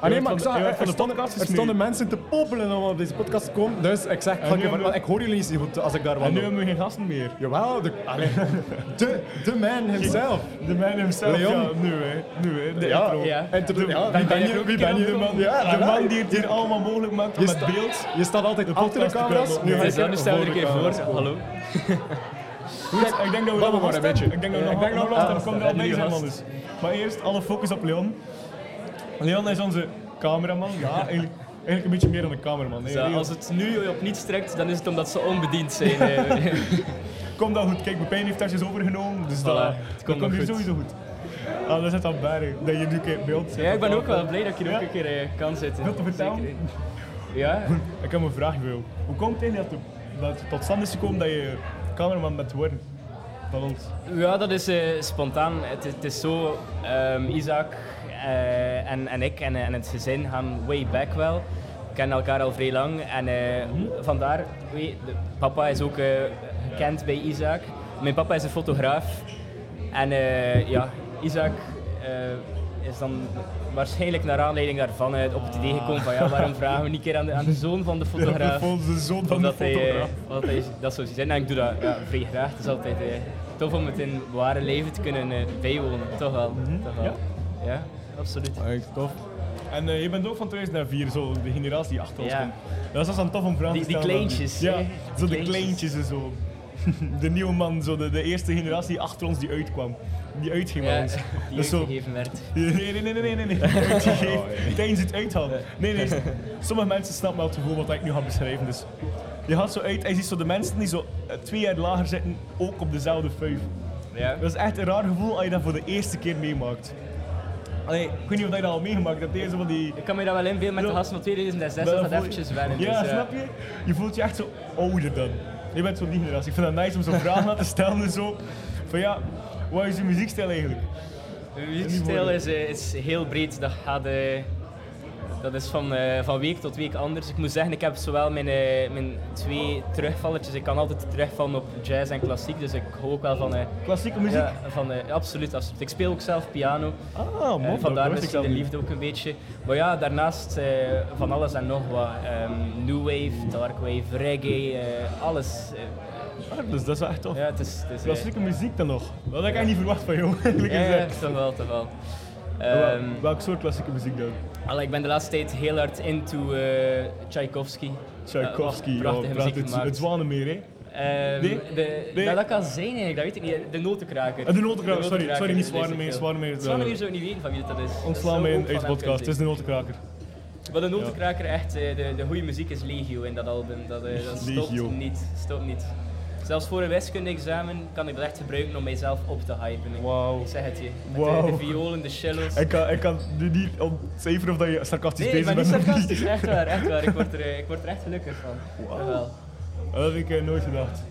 Ah, nee, maar ik zag, Van de- je er, werd van er de stonden, podcast er gesmeed. stonden mensen te popelen om op deze podcast te komen. Dus ik zeg, ik, ga nu een keer hebben van- we- ik hoor jullie niet zo goed als ik daar En nu wandel. hebben we geen gasten meer. Jawel, de, allee, de, de man himself. De man himself, Leon. ja, nu hè, nu hè, de Ja, intro. ja. En te- De- ja, wie ben je? Wie ben je? De man, Ja, de man ja. die het hier allemaal mogelijk maakt Je, met sta- beeld. je staat altijd achter de podcast camera's. te Nu komen. ga Nee, ik dan er staan we er een keer voor. de camera's. Hallo. Goed, ik denk dat we Babbel nog maar last een hebben. beetje. Ik denk dat we Ja, nog ik denk dat nog we nog last hebben. Kom er al bij zijn, anders. Maar eerst alle focus op Leon. Leon is onze cameraman. Ja, eigenlijk, eigenlijk een beetje meer dan een cameraman. hè. Leon, Dus, eh, als het nu op niets trekt, dan is het omdat ze onbediend zijn. eh. Kom dan goed. Kijk, Pepijn heeft tasjes overgenomen. Dus dat, dat komt komt nog hier goed. sowieso goed. Ah, dat is het al bij dat je nu een keer in beeld zit. ja, ik ben ook wel blij dat ik hier Ja. ook een keer eh, kan zitten. Wil te vertellen? Zeker, hè. Ja, Ik heb een vraag voor jou. Hoe komt het eigenlijk dat, het- dat het tot stand is gekomen dat je cameraman bent worden? Van ons. ja, dat is eh, spontaan. Het, is- het is zo, ehm, Isaac eh, en, en ik en, eh, en het gezin gaan way back wel. We kennen elkaar al vrij lang en eh, vandaar, weet, de- papa is ook eh, gekend bij Isaac. Mijn papa is een fotograaf en eh, ja, Isaac eh, eh, is dan waarschijnlijk naar aanleiding daarvan eh, op het idee gekomen van ja, waarom vragen we niet een keer aan de, aan de zoon van de fotograaf. De zoon van omdat de hij, eh, fotograaf. wat hij dat zou zijn. En ik doe dat ja, vrij graag. Het is altijd eh, tof om het in ware leven te kunnen eh, bijwonen. Toch wel. Toch wel. Mhm. Ja. Ja. absoluut. Echt tof. En eh, je bent ook van 2004, zo de generatie die achter ons Ja. komt. Dat is dat dan tof om vragen Die- te die stellen. dan kleintjes, Ja, hè? zo de Kleintjes. kleintjes en zo. De nieuwe man, zo de, de eerste generatie die achter ons die uitkwam. Die uitging bij Ja, ons. die Dat is zo- gegeven werd. Nee, nee, nee, nee, nee, nee. Uitgegeven. Tijdens het uithalen. Nee, nee. Sommige mensen snappen wel het gevoel wat ik nu ga beschrijven. Dus je gaat zo uit en je ziet zo de mensen die zo eh, twee jaar lager zitten, ook op dezelfde vijf. Ja. Dat is echt een raar gevoel als je dat voor de eerste keer meemaakt. Allee, ik weet niet of je dat al meegemaakt hebt, deze van die... Ik kan me dat wel inbeelden met de gasten van 2006, dat voel dat je- eventjes wennen. Ja, dus, eh, snap je? Je voelt je echt zo ouder dan. Je bent zo'n die generatie. Ik vind dat nice om zo'n vraag aan te stellen en zo. Van ja, wat is je muziekstijl eigenlijk? Mijn muziekstijl is, eh, is heel breed. Dat, gaat, eh, dat is van, eh, van week tot week anders. Ik moet zeggen, ik heb zowel mijn, eh, mijn twee terugvallertjes. Ik kan altijd terugvallen op jazz en klassiek, dus ik hou ook wel van... eh, Klassieke muziek? Ja, van, eh, absoluut, absoluut. Ik speel ook zelf piano. Ah, Eh, mooi. dat vandaar wist misschien ik zelf de niet. liefde ook een beetje. Maar ja, daarnaast eh, van alles en nog wat. Ehm, new wave, dark wave, reggae, eh, alles. Eh, Ah, dus dat is wel echt tof. ja, het is... Het is eh, Klassieke muziek dan nog? Dat had ik echt niet verwacht van jou, eigenlijk ja, ja, gezegd. toch wel, toch wel. Wel- Ehm, eh, Welk soort klassieke muziek dan? Allee, ik ben de laatste tijd heel hard into eh Tchaikovsky. Tchaikovsky, Eh, ja, prachtige praat muziek het, gemaakt. het Zwanemeer, hè? Ehm, Nee? de, Nee. Dat, dat kan zijn eigenlijk, dat weet eh, ik niet. De notenkraker. Eh, de notenkraker, sorry, notenkraker, sorry, niet dat weet Zwanemeer, ik veel. Zwanemeer is- Zwanemeer zou ik niet weten van wie dat is. Dat eh, Ontslaan zou mij ook in van deze hem podcast, het kunnen is de notenkraker. zijn. Maar de notenkraker, echt, eh, de, de goede muziek is legio in dat album. Dat, eh, dat stopt Legio. niet, stopt niet. Zelfs voor een wiskunde-examen kan ik dat echt gebruiken om mijzelf op te hypen. Ik- Wauw. Ik zeg het je. Met Wauw. de, de violen, de cello's. Ik kan, ik kan nu niet ontcijferen of dat je sarcastisch Nee, ik bezig ben niet bent. of sarcastisch, echt waar, echt waar. Ik word er, eh, ik word er echt gelukkig van. Jawel. Dat heb ik eh, nooit gedacht.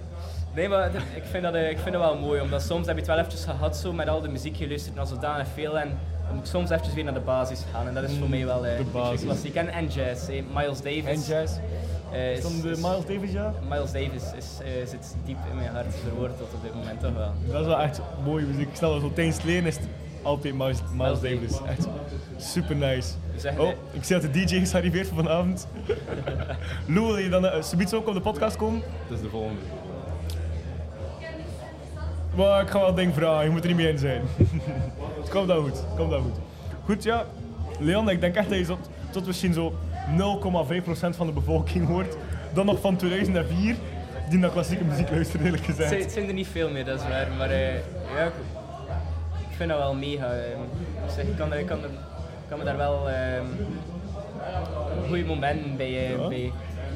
Nee, maar dat- ik vind, dat, eh, ik vind dat wel mooi, omdat soms heb je het wel eventjes gehad zo, met al de muziek geluisterd naar zodanig veel en dan moet ik soms eventjes weer naar de basis gaan en dat is voor mij wel eh, Mm, de een beetje basis. klassiek. En, en jazz, eh, Miles Davis. En jazz? eh, is- Is dan de is- Miles Davis, ja? Miles Davis is, eh, zit diep in mijn hart verwoord tot op dit moment, toch wel. Dat is wel echt mooie muziek. Ik stel dat zo tijdens het leren is het altijd Miles, Miles Miles Davis. Davis. Echt super nice. Zeg, Oh, eh, ik zie dat de DJ is gearriveerd voor vanavond. Lou, wil je dan uh, ook op de podcast komen? Dat is de volgende. Maar ik ga wel ding vragen, je moet er niet mee in zijn. Het komt dat goed, het komt dat goed. Goed ja, Leon, ik denk echt dat je tot, tot misschien zo 0,5% van de bevolking hoort. Dan nog van 2004, die naar klassieke muziek luisteren eerlijk Het zijn, gezegd. het zijn er niet veel meer, dat is waar, maar eh, ja, ik, ik vind dat wel mega. eh. Ik zeg, ik kan, er- ik kan, er- ik kan me daar wel eh, goede momenten bij, eh, Ja. bij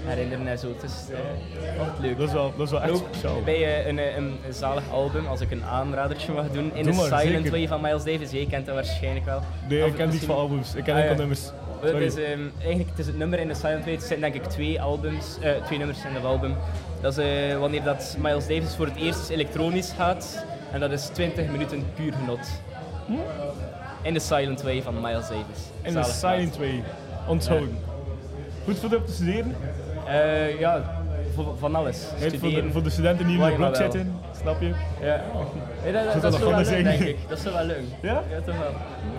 herinneren en zo. Het is eh, altijd leuk. Dat is wel, dat is wel echt speciaal. Ook bij eh, een, eh, een, een zalig album, als ik een aanradertje mag doen, In Doe the maar, Silent zeker. Way van Miles Davis. Jij kent dat waarschijnlijk wel. Nee, Of ik ken niet misschien- van albums, ik ken Ah, enkel ja. nummers. het Sorry. is, ehm, eigenlijk het is het nummer in de Silent Way. Het zijn denk ik twee, albums, eh, twee nummers in dat album. Dat is eh, wanneer dat Miles Davis voor het eerst elektronisch gaat. En dat is 20 minuten puur genot. In de Silent Way van Miles Davis. En de Zalig Silent Way, onthouden. Goed voor de op te studeren, plaat. Eh, ja, voor- van alles. Goed voor de, Studeren. voor de studenten die in Waar de je maar blok wel. zitten, snap je? Oh. Ja. Nee, dat, dat, dat dat is nog wel anders leuk, zijn? denk ik. Dat is wel leuk. Ja? Ja, toch wel.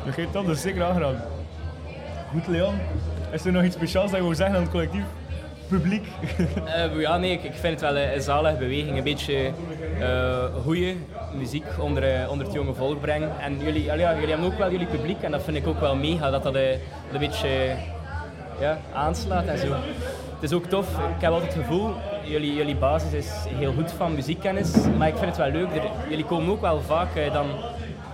Dat geeft dat, dat is zeker aangedaan. Goed, Leon. Is er nog iets speciaals dat je wil zeggen aan het collectief? Publiek? Eh, ja, nee, ik, ik vind het wel eh, een zalige beweging. Een beetje eh goede muziek onder, eh, onder het jonge volk brengen. En jullie, ja, ja, jullie hebben ook wel jullie publiek en dat vind ik ook wel mega, dat dat eh, een beetje eh, ja, aanslaat en zo. Het is ook tof, ik heb altijd het gevoel, jullie, jullie basis is heel goed van muziekkennis, maar ik vind het wel leuk, er- jullie komen ook wel vaak eh, dan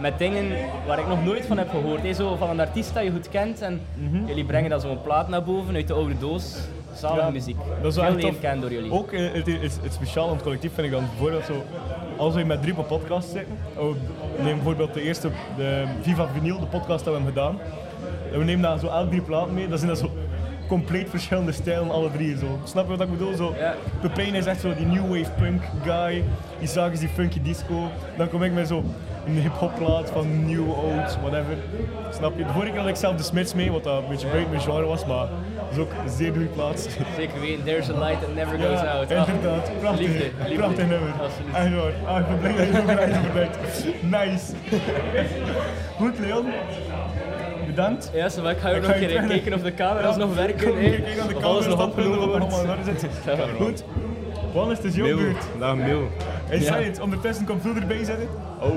met dingen waar ik nog nooit van heb gehoord. hè, Zo van een artiest dat je goed kent en jullie brengen dan zo'n plaat naar boven uit de oude doos. Zalige Ja, muziek. Dat is Veel wel echt tof. leren kennen door jullie. Ook eh, het, het, het speciaal aan het collectief vind ik dan bijvoorbeeld zo... Als we met drie op podcast zitten... oh, neem bijvoorbeeld de eerste, de Viva Vinyl, de podcast dat we hebben gedaan. En we nemen daar zo elk drie platen mee. Dan zijn dat zo compleet verschillende stijlen, alle drie. Zo. Snap je wat ik bedoel? Zo, Pepijn is echt zo die new wave punk guy. Isaac is die funky disco. Dan kom ik met zo een hip-hop plaat van new, old, whatever. Snap je? De vorige keer had ik zelf de Smiths mee, wat dat een beetje buiten mijn genre was, maar dat is ook een zeer goede plaats. Zeker weten, there's a light that never Ja, goes out. Ah, Inderdaad, prachtig. Liefde, liefde. Prachtig nummer. Absoluut. Echt waar. Ah, ik ben blij dat je het over mij verdenkt. Nice. Goed, Leon. Bedankt. Ja, zo, maar ik ga ook Ik nog ga een je keer terug- kijken of de camera's nog werken. Kom, hier, eh, Kijk aan de of alles camera, nog dat punt opgenomen wat wordt. allemaal in orde zit. Goed. Wanneer is dus het jouw Mil. beurt? Dag, Mil. Hey, Ja. zei het. Ondertussen kan vloer erbij zetten. Oh,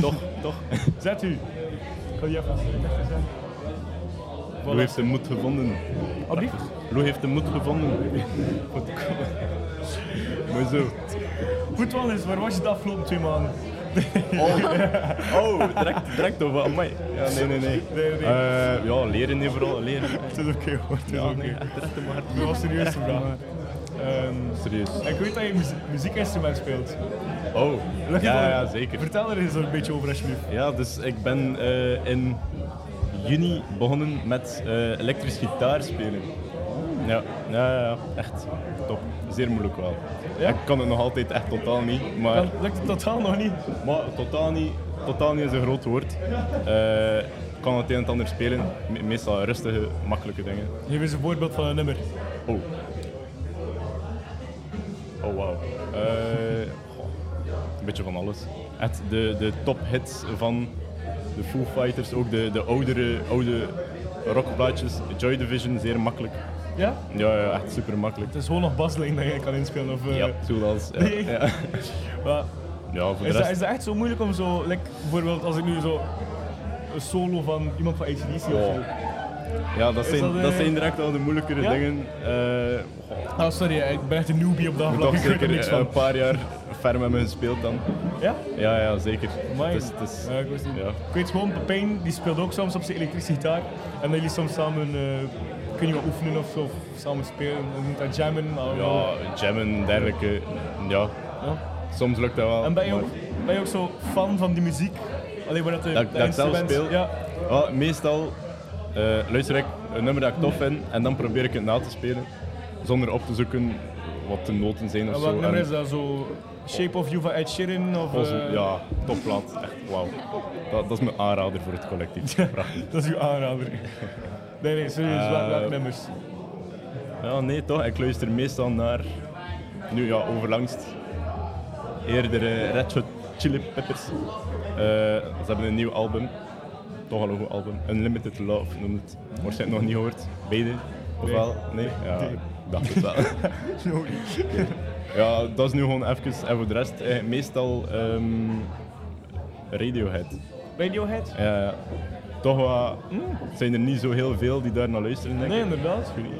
toch, toch. Zet u. Ik ga die even Lou heeft de moed gevonden. Alblieft? Lou heeft de moed gevonden. Wat cool. Maar zo. Goed, Wannes, waar was je de afgelopen twee maanden? Oh, direct, direct over aan mij. Ja, nee, nee, nee. Nee, nee. Eh, ja, leren hier vooral, leren. Het is oké hoor, het is Ja, oké. nee, echt, direct de maart. Dat was serieus de vraag. Ehm, Serieus. ik weet dat je muzie- muziekinstrument speelt. Oh, Leg het ja, wel- ja, zeker. Vertel er eens een beetje over alsjeblieft. Ja, dus ik ben eh, in juni begonnen met eh, elektrisch gitaar spelen. Ja, ja, ja, ja, echt top. Zeer moeilijk wel. Ik kan het nog altijd echt totaal niet, maar... Dat lukt het totaal nog niet. Maar totaal niet, totaal niet is een groot woord. Eh, Ik kan het een en het ander spelen, Me- meestal rustige, makkelijke dingen. Geef eens een voorbeeld van een nummer. Oh. Oh, wauw. Eh, goh, een beetje van alles. Echt de, de tophits van de Foo Fighters, ook de, de oudere, oude rockplaatjes. Joy Division, zeer makkelijk. Ja? Ja, ja, echt super makkelijk. Het is gewoon nog baslijn dat je kan inspelen. Of, eh, Ja, zoals. Ja, Nee. ja. maar ja, voor de is, dat, is rest. dat echt zo moeilijk om zo, like, bijvoorbeeld als ik nu zo een solo van iemand van ACDC of Oh. zo. Ja, dat is zijn, dat, eh, dat zijn direct al de moeilijkere Ja? dingen. Eh goh, Ah, sorry, ik ben echt een newbie op dat ik moet vlak. toch Ik weet er zeker niks eh, van. een paar jaar ferm hebben gespeeld dan. Ja? Ja, ja, zeker. Amai. Het is, het is, Ja, ik wist niet. ja. Ik weet gewoon, Pepijn die speelt ook soms op zijn elektrische gitaar. En dan jullie soms samen, eh kun je wat oefenen of zo, of samen spelen. We moeten dat jammen. maar- Ja, jammen en dergelijke. Ja, ja. soms lukt dat wel. En ben je, maar ook, ben je ook zo fan van die muziek? Alleen maar dat de Dat, ik- dat ik zelf instrument- speel? Ja. Wel, meestal eh, luister ik een nummer dat ik tof vind en dan probeer ik het na te spelen. Zonder op te zoeken wat de noten zijn of En zo. welk nummer En- is dat zo? Shape of You van Ed Sheeran? Of, Ons- eh, Ja, topplaat. Echt, wauw. Dat, dat is mijn aanrader voor het collectief. Prachtig. Dat is uw aanrader. Nee, nee, serieus, wel- Eh, welke nummers? Ja, nee toch. Ik luister meestal naar, nu ja, overlangst, eerder eh, Red Hot Chili Peppers. Eh, ze hebben een nieuw album. Toch al een goed album. Unlimited Love noemt het. Waarschijnlijk nog niet gehoord. Beide? Of Nee. wel? Nee? Ja, Nee. ik dacht het wel. Oké. Ja, dat is nu gewoon even. En voor de rest, eh, meestal ehm, Radiohead. Radiohead? Ja, ja. Eh, toch wat, zijn er niet zo heel veel die daar naar luisteren, denk Nee, ik. inderdaad. Ik weet niet. Ik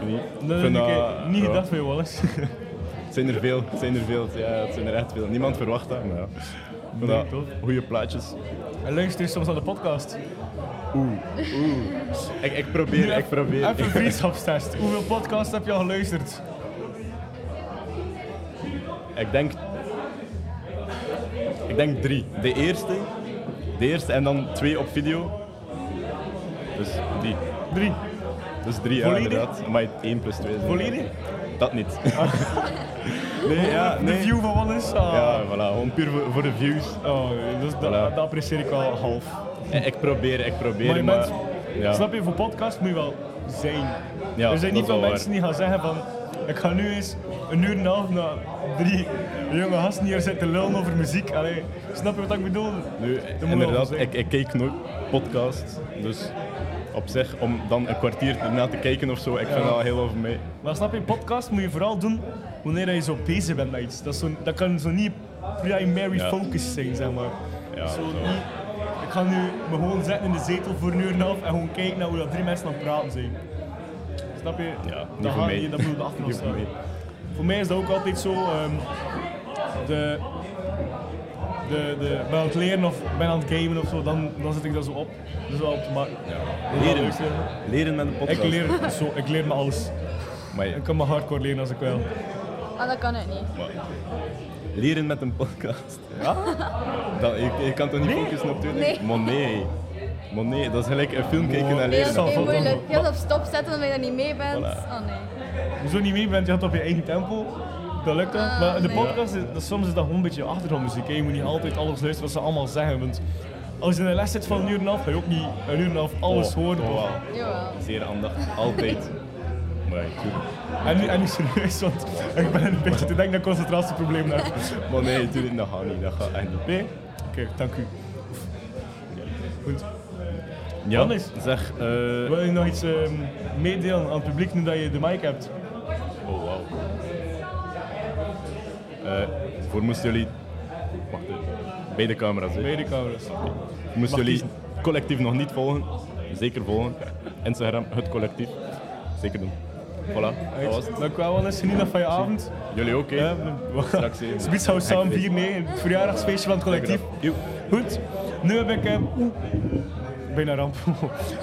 weet niet. Dat Ik heb vind ik dat- eh, niet ja. gedacht van je Wallace. Het zijn er veel, het zijn er veel. Ja, het zijn er echt veel. Niemand verwacht dat, maar ja. Ik vind Nee, dat toch? goede plaatjes. En luister je soms aan de podcast? Oeh, oeh. Ik, ik probeer, ik probeer. Even een vriendschapstest. Hoeveel podcasts heb je al geluisterd? Ik denk... Ik denk drie. De eerste. De eerste en dan twee op video. Dus drie. Drie. Dus drie, ja, Volledig? inderdaad. Maar 1 plus 2 is inderdaad. Volledig? Ah. Dat niet. nee, ja, De nee. view van Wallace? Ah. Ja, voilà. Gewoon puur voor, voor de views. Oh, dus dat, Voilà. dat apprecieer ik wel half. Eh, Ik probeer, ik probeer, Maar maar... je bent, ja. snap je, voor podcast moet je wel zijn. Ja, er zijn dat niet is veel wel mensen die gaan zeggen van, ik ga nu eens een uur en een half naar drie jonge gasten hier zitten lullen over muziek. Allee, snap je wat ik bedoel? Nu, Dat moet wel inderdaad, zijn. ik, ik kijk nooit podcasts, dus op zich, om dan een kwartier erna te kijken of zo, ik vind dat heel over mij. Maar snap je, podcast moet je vooral doen wanneer je zo bezig bent met iets. Dat, is zo, dat kan zo niet primary Ja. focus zijn, zeg maar. Ja, zo, zo. niet, ik ga nu me gewoon zetten in de zetel voor een uur en een half en gewoon kijken naar hoe dat drie mensen aan het praten zijn. Snap je? Ja, niet dat voor gaat mij. niet, dat moet op de achtergrond Niet voor staan. mij. Voor mij is dat ook altijd zo. ehm, de, de, de, ben aan het leren of ben aan het gamen of zo, dan, dan zet ik dat zo op. Dus wel op te maken. Dus wel Leren, leuk zijn. leren met een podcast. Ik leer, zo, ik leer me alles. Maar ja, Ik kan me hardcore leren als ik wil. Ah, dat kan het niet. leren met een podcast. Ja? Dat, je, je kan toch niet focussen op twee dingen? Nee. Maar nee. Maar nee, dat is gelijk een film kijken en Nee, leren. dat is heel moeilijk. Heel op stop zetten omdat je daar niet mee bent. Voilà. Oh nee. Hoezo niet mee bent, je had op je eigen tempo. Dat lukt dan. Ah, Maar in de nee. podcast, is, dat- soms is dat gewoon een beetje achtergrondmuziek. Hè. Je moet niet altijd alles luisteren wat ze allemaal zeggen. Want als je in een les zit van een uur en een half, ga je ook niet een uur en een half alles Oh, horen. oh, of- wow. Jawel. Zeer aandacht, altijd. Maar ja, tuurlijk. En nu, en nu serieus, want ik ben een beetje te denken dat ik concentratieprobleem heb. Maar nee, tuurlijk, dat gaat niet. Dat gaat echt niet. Nee? Oké, dank u. Goed. Ja, Anders? zeg... eh, Wil je nog iets ehm, meedelen aan het publiek nu dat je de mic hebt? Oh, wauw. Eh, voor moesten jullie... Wacht even. Beide camera's, hè? Beide camera's. Moesten Mag jullie collectief nog niet volgen? Zeker volgen. Instagram, het collectief. Zeker doen. Voilà, dat was het. Dank u wel, Wannes. Geniet nog van je avond. Jullie ook, hè? Straks even. Spits houdt samen 4 nee, het verjaardagsfeestje van het collectief. Goed, nu heb ik. eh, oeh, bijna ramp.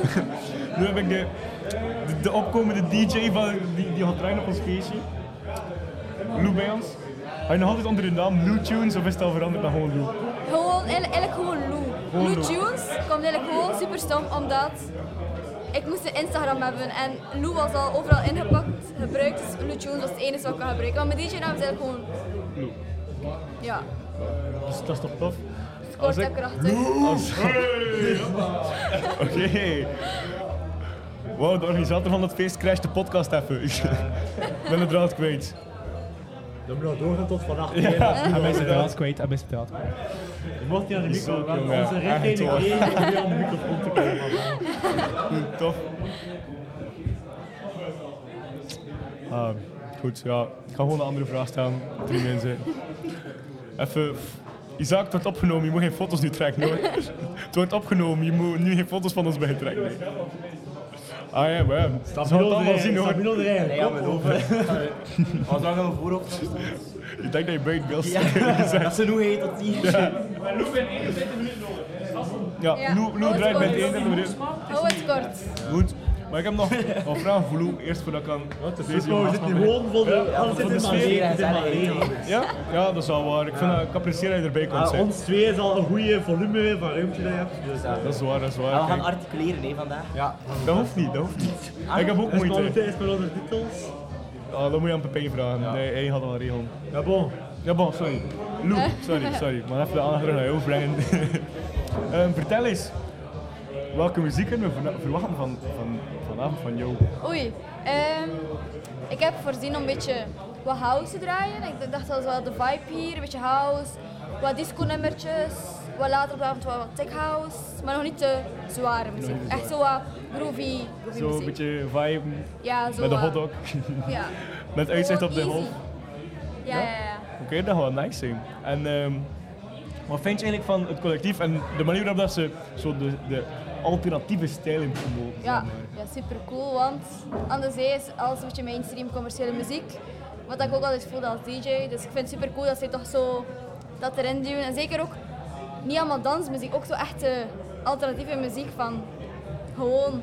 nu heb ik de, de, de opkomende DJ van, die, die gaat draaien op ons feestje. Lou bij ons. Hij nog altijd onder de naam Lou Tunes of is het al veranderd naar gewoon Lou? Gewoon, eigenlijk eigenlijk gewoon Lou. Gewoon Lou Lou. Tunes kwam eigenlijk gewoon super stom omdat ik moest een Instagram hebben en Lou was al overal ingepakt, gebruikt. Dus Lou Tunes was het enige wat ik kon gebruiken. Want mijn DJ-naam is eigenlijk gewoon Lou. Ja, Dus dat is toch tof? kort en krachtig. Als- Oké. Wow, de organisator van dat feest crasht de podcast even. Ik ben de draad kwijt. Dan moet nog doorgaan tot vannacht. Ja. Hij is het Ja. draad kwijt, hij is het draad kwijt. Je mocht niet aan de microfoon, Zo, want jongen, onze echt richting hoor. is niet aan de microfoon te komen. man. Hm, Tof. Ah, goed, ja. Ik ga gewoon een andere vraag stellen. Drie mensen. Even. Isaac, het wordt opgenomen. Je moet geen foto's nu trekken hoor. Het wordt opgenomen. Je moet nu geen foto's van ons bij trekken. nee. Ah ja, maar ja. Ze gaan het allemaal zien hoor. Nee, aan mijn hoofd. Wat lang een voorop? Ik denk dat je buiten beeld Ja, dat ze nu heet dat niet. Maar Lou en 41 minuten nodig. Ja, Oh, Lou, Lou draait met 41 minuten. Hou het kort. Goed. Maar ik heb nog een vraag voor Lou, eerst voordat ik aan deze Zo, we jongens zitten mag hier gewoon beginnen. voor de- Ja, alles voor zit in maar sfeer. weer, het is maar weer. Ja? ja, dat is wel waar. Ik, vind, dat- ik apprecieer dat je erbij komt. Ah, zijn. ons twee is al een goede volume van ruimte dat je hebt. Dus, eh, Dat is waar, dat is waar. Ah, we gaan Kijk, Articuleren, nee, vandaag. Ah. Ja. dat hoeft niet, dat hoeft niet. ik heb ook moeite. Ah, Dus Is maar ondertitels. Ah, dat moet je aan Pepijn vragen. Nee, hij had al een regel. Ja, bon. Ja, bon, sorry. Lou, sorry, sorry. Maar even de aandacht naar jou brengen. Ehm, vertel eens, welke muziek kunnen we vana- verwachten van, van, vanavond van jou? Oei, ehm, ik heb voorzien om een beetje wat house te draaien. Ik dacht dat is wel de vibe hier, een beetje house, wat disco nummertjes, wat later op de avond wat, wat tech house, maar nog niet te zware muziek. niet te Echt zo wat groovy, groovy Zo een muziek. beetje vibe Ja, zo met de wat- hotdog. Ja. Met uitzicht op de Gewoon hof. easy. Ja, ja, ja. Oké, dat gaat wel nice zijn. En ehm, wat vind je eigenlijk van het collectief en de manier waarop dat ze zo de, de alternatieve stijlen promoten? Ja, ja super cool, want anderzijds als een beetje mainstream commerciële muziek, wat ik ook altijd voelde als DJ, dus ik vind het super cool dat ze toch zo dat erin duwen. En zeker ook niet allemaal dansmuziek, ook zo echte alternatieve muziek van gewoon.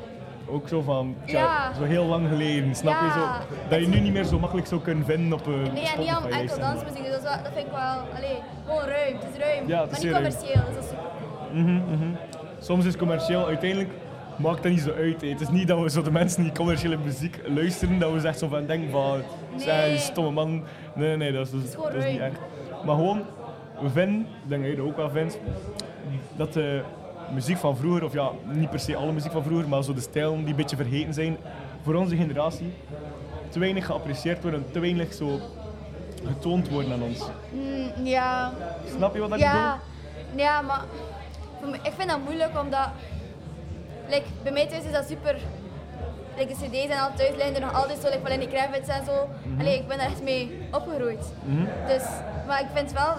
Ook zo van, tja, Ja. zo heel lang geleden, snap je? Ja. Zo, dat je nu niet meer zo makkelijk zou kunnen vinden op eh, een Nee, ja, niet allemaal enkel dansmuziek, dus dat, is wel- dat vind ik wel, allee, gewoon ruim, het is ruim, Ja, het maar is niet heel ruim. commercieel, dus dat is super. Mhm, mhm. Soms is commercieel, uiteindelijk maakt dat niet zo uit. hè. Het is niet dat we zo de mensen die commerciële muziek luisteren, dat we echt zo van denken van, zeg, Nee. stomme man. Nee, nee, dat is, dat is, gewoon dat is niet leuk. echt. Maar gewoon, we vinden, ik denk dat je dat ook wel vindt, dat de muziek van vroeger, of ja, niet per se alle muziek van vroeger, maar zo de stijlen die een beetje vergeten zijn, voor onze generatie, te weinig geapprecieerd worden, te weinig zo getoond worden aan ons. Mm, ja. Snap je wat ik ja. Ja, maar voor mij- ik vind dat moeilijk omdat like, bij mij thuis is dat super. Like, de CD's en al thuis liggen er nog altijd zo, like, van in die Kravitz en zo. Mhm. Allee, ik ben daar echt mee opgegroeid. Mhm. Dus, maar ik vind wel,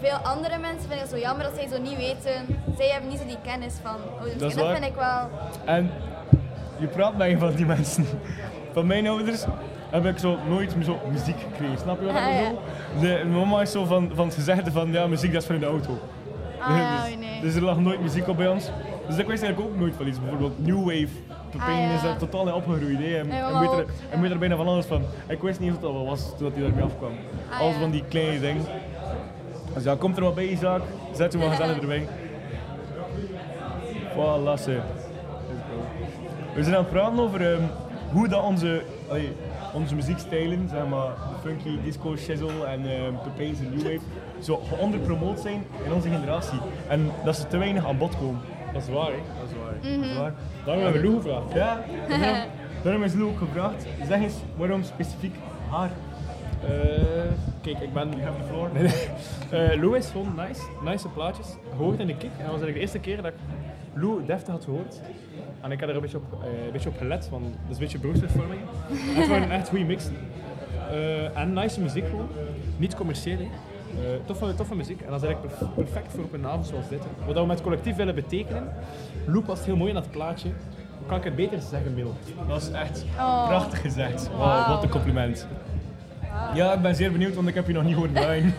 veel andere mensen vinden het zo jammer dat zij zo niet weten. Zij hebben niet zo die kennis van ouders. Dat is en dat waar. vind ik wel. En je praat met een van die mensen. Van mijn ouders heb ik zo nooit zo muziek gekregen, snap je wat ik Ah, ja. bedoel? De, mijn mama is zo van, van het gezegde van, ja, muziek dat is voor in de auto. Ah, ja, dus, nee. dus er lag nooit muziek op bij ons. Dus ik wist eigenlijk ook nooit van iets. Bijvoorbeeld New Wave, Pepijn Ah, ja. is daar totaal in opgegroeid. Hè. En, Mijn en mama weet er, ook, en weet er bijna van alles van. Ik wist niet of dat wel was toen hij daarmee afkwam. Ah, Alles ja. van die kleine dingen. Dus ja, komt er wat bij, Isaac. Zet u maar gezellig erbij. Voilà, ze. We zijn aan het praten over ehm, hoe dat onze, allee, onze muziekstijlen, zeg maar, de funky, disco, shizzle en ehm Pepijn's en New Wave, zo onderpromoot zijn in onze generatie. En dat ze te weinig aan bod komen. Dat is waar, hè? Dat is waar. Mhm. Dat is waar. Daarom hebben we Lou gevraagd. Ja, daarom, daarom is Lou ook gevraagd. Zeg eens, waarom specifiek haar? Eh, kijk, ik ben... You have the floor. Eh, Lou is gewoon nice. Nice plaatjes. Gehoord in de kick. En dat was eigenlijk de eerste keer dat ik Lou deftig had gehoord. En ik had er een beetje op, eh, een beetje op gelet, want dat is een beetje beroepsvervorming. En het waren echt goede mixen. Eh, en nice muziek gewoon. Niet commercieel, hè. Eh, toffe, toffe muziek. En dat is eigenlijk perf- perfect voor op een avond zoals dit. hè. Wat we met collectief willen betekenen. Lou past heel mooi in dat plaatje. Hoe kan ik het beter zeggen, Mil? Dat is echt Oh. prachtig gezegd. Wow, Wauw. Wat een compliment. Ja, ik ben zeer benieuwd, want ik heb je nog niet horen draaien.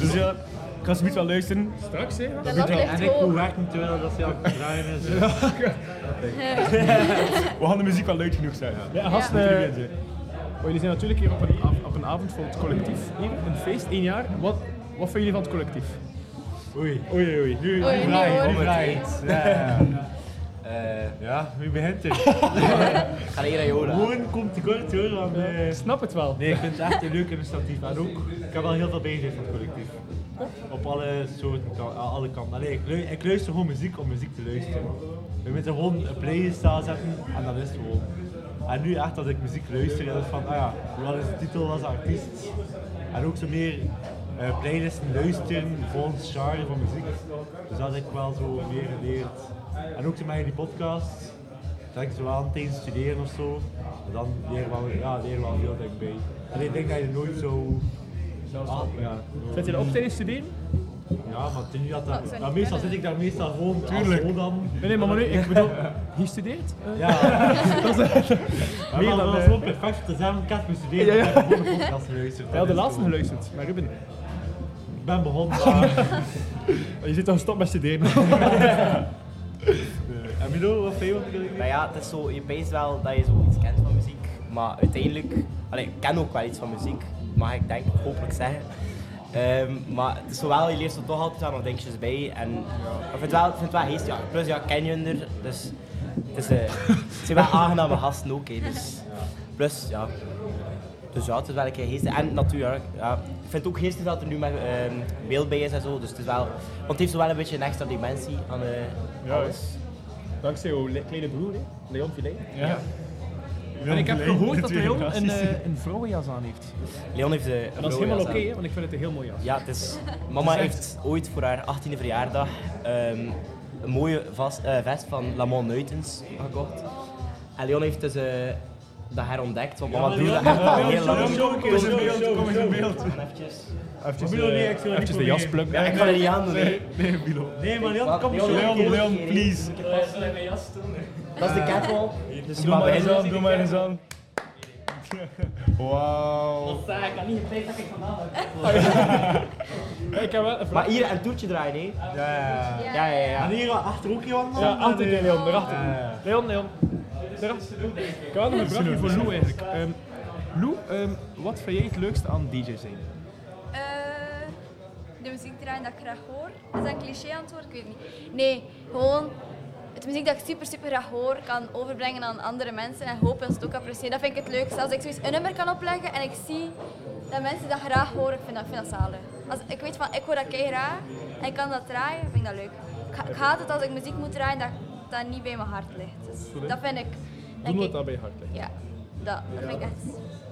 dus ja, ik ga zoiets wel luisteren. Straks, hè? Dat moet wel. En ik moet werken terwijl dat ze aan het draaien is. We gaan de muziek wel luid genoeg zijn. Ja, gasten. Moeten eh, jullie weten. oh, jullie zijn natuurlijk hier op een, av- op een avond voor het collectief. Hier, een feest, één jaar. Wat, wat vinden jullie van het collectief? Oei. Oei, oei. Nu, Oei, nu vraag ik, hoor. nu vraag ik. Omgedraaid. Ja. Eh, ja, wie begint er? Ga hier aan Jola. Gewoon komt te kort hoor. Want, eh, Snap het wel. Nee, ik vind het echt een leuk initiatief. En ook, ik heb al heel veel bezig van het collectief. Op alle soorten, ka- aan alle kanten. Allee, ik, lu- ik luister gewoon muziek om muziek te luisteren. We moeten gewoon een playlist aanzetten en dat is het gewoon. En nu echt als ik muziek luister, is het van, ah ja, wat is de titel, wat is de artiest? En ook zo meer eh, playlisten luisteren volgens genre van muziek. Dus dat heb ik wel zo meer geleerd. En ook zo met die podcast, dat ik zo aan tijdens het studeren of zo. En dan leer je wel, ja, leer je wel heel denk ik bij. En ik denk dat je nooit zo... Ah, ja, Zit je erop tijdens studeren? Ja, maar nu dat, Dat dat, zou maar niet meestal kunnen. zit ik daar meestal gewoon als Tuurlijk. gewoon dan. Nee, nee, maar, maar nu, ik bedoel, je studeert? Eh, Ja. dat is echt... Maar meer we dan... hadden eh, gewoon perfect te zijn, ik had bestudeerd. Ja, ja. Ik heb gewoon de podcast geluisterd. Hij had de laatste geluisterd, maar Ruben. Ik ben begonnen, maar... Oh, Je zit al gestopt met studeren. Eh, En bedoel, wat veel Nou ja, het is zo, je weet wel dat je zoiets kent van muziek, maar uiteindelijk, allee, ik ken ook wel iets van muziek, mag ik denk hopelijk zeggen. Ehm, maar het is zo wel, je leert er toch altijd wel nog dingetjes bij. En ik vind het wel, ik vind het wel geest, ja. Plus ja, ik ken je er, dus het, is, eh, het zijn wel aangename gasten ook. hè, dus, plus ja, dus ja, het is wel een keer geestig. En natuurlijk, ja, ik vind het ook geestig dat er nu met ehm beeld bij is en zo. Dus het is wel, want het heeft zo wel een beetje een extra dimensie aan eh Ja, alles. Dankzij jouw le- kleine broer, hè? Leon Filet. Ja. En ik heb Leon gehoord Filet, dat Leon natuurlijk. een, eh, een vrouwenjas aan heeft. Leon heeft eh, de En dat is helemaal oké, hè, want ik vind het een heel mooi jas. Ja, het is, Het mama is echt- heeft ooit voor haar 18e verjaardag ehm, een mooie vast, eh, vest van Lamont Nuitens gekocht. En Leon heeft dus eh, dat herontdekt, want mama Ja, doet Leon- dat echt al Leon- heel lang. Leon, kom een keer, kom eens in beeld, kom eens in beeld. En eventjes... Eventjes Milo, nee, ik zal niet eh, eventjes de proberen. jas plukken. Ja, ik ga er niet aan doen, Nee, nee. nee, Milo. Nee, maar Wat? Leon, kom eens Leon, zo. Leon, Leon, please. Dat is de catwalk. Dus je mag beginnen. doe maar eens aan. Wauw. ik had niet gepland dat ik vandaag Ik heb wel een Maar hier een toertje draaien, hè? Ja, ja, ja. En hier achter ook iemand? Ja, achter die Leon, daarachter. Ja, ja. Leon, Leon. Daarachter. Ik had nog een vraagje voor Lou eigenlijk. Ehm, Lou, ehm, wat vind jij het leukste aan DJ zijn? Eh, de muziek draaien dat ik graag hoor. Is dat een cliché antwoord? Ik weet het niet. Nee, gewoon het muziek dat ik super, super graag hoor, kan overbrengen aan andere mensen en hopen dat ze het ook appreciëren. Dat vind ik het leukste. Als ik zoiets een nummer kan opleggen en ik zie dat mensen dat graag horen, ik vind dat, ik vind dat zalig. Als, ik weet van, ik hoor dat kei graag en ik kan dat draaien, vind ik dat leuk. Ik, ha- ik haat het als ik muziek moet draaien dat dat niet bij mijn hart ligt. Dus Goed, hè? dat vind ik... Doe denk nooit ik- dat bij je hart ligt. Ja, dat, dat vind ik echt...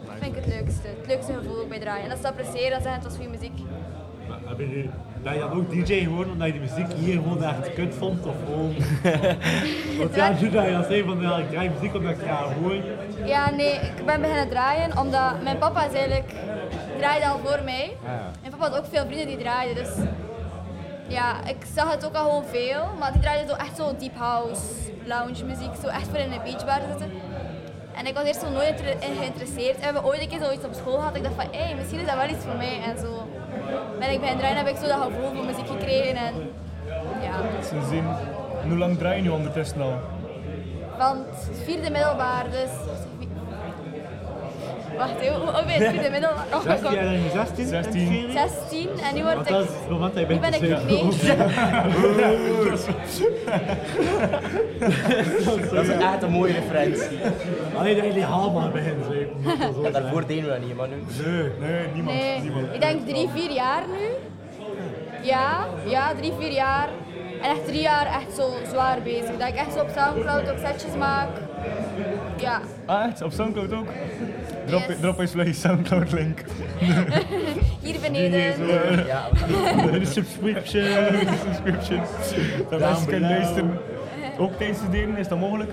Dat vind ik het leukste. Het leukste gevoel ook bij draaien. En dat ze het appreciëren en zeggen het was goede muziek. Maar heb je nu- Dat je dan ook DJ gewoon omdat je de muziek hier gewoon echt kut vond of gewoon... Want ja, nu dat je dat zei van ja, ik draai muziek omdat ik het ga horen. Ja, nee, ik ben beginnen draaien omdat mijn papa is eigenlijk draaide al voor mij. Ah, ja. En papa had ook veel vrienden die draaiden, dus ja, ik zag het ook al gewoon veel, maar die draaiden zo echt zo deep house, lounge muziek, zo echt voor in een beachbar zitten. En ik was eerst zo nooit inter- in geïnteresseerd. En we hebben ooit een keer zoiets op school gehad. Ik dacht van, hé, misschien is dat wel iets voor mij. En zo ben ik beginnen draaien, heb ik zo dat gevoel voor muziek gekregen. En ja, Ze zien. En hoe lang draai je nu ondertussen al? van het vierde middelbaar, dus Wacht, hè, hoe hoe ben je in de middel? Oh, kom. 16 en 16? 16. 16 en nu Want word dat ik... is het moment dat je Nu bent ben ik niet meer. Dat is echt een mooie referentie. Alleen dat je die haalbaar begint. En daarvoor deden we dat niet, maar nu. Nee, nee, niemand. Nee, ik denk drie, vier jaar nu. Ja, ja, drie, vier jaar. En echt drie jaar echt zo zwaar bezig. Dat ik echt zo op Soundcloud ook setjes maak. Ja. Ah, echt? Op Soundcloud ook? Drop, drop eens vlug je Soundcloud link. Hier Zo, beneden. eh, Ja. De subscription. De subscription. Dat mensen kunnen luisteren. Ook tijdens het studeren, is dat mogelijk?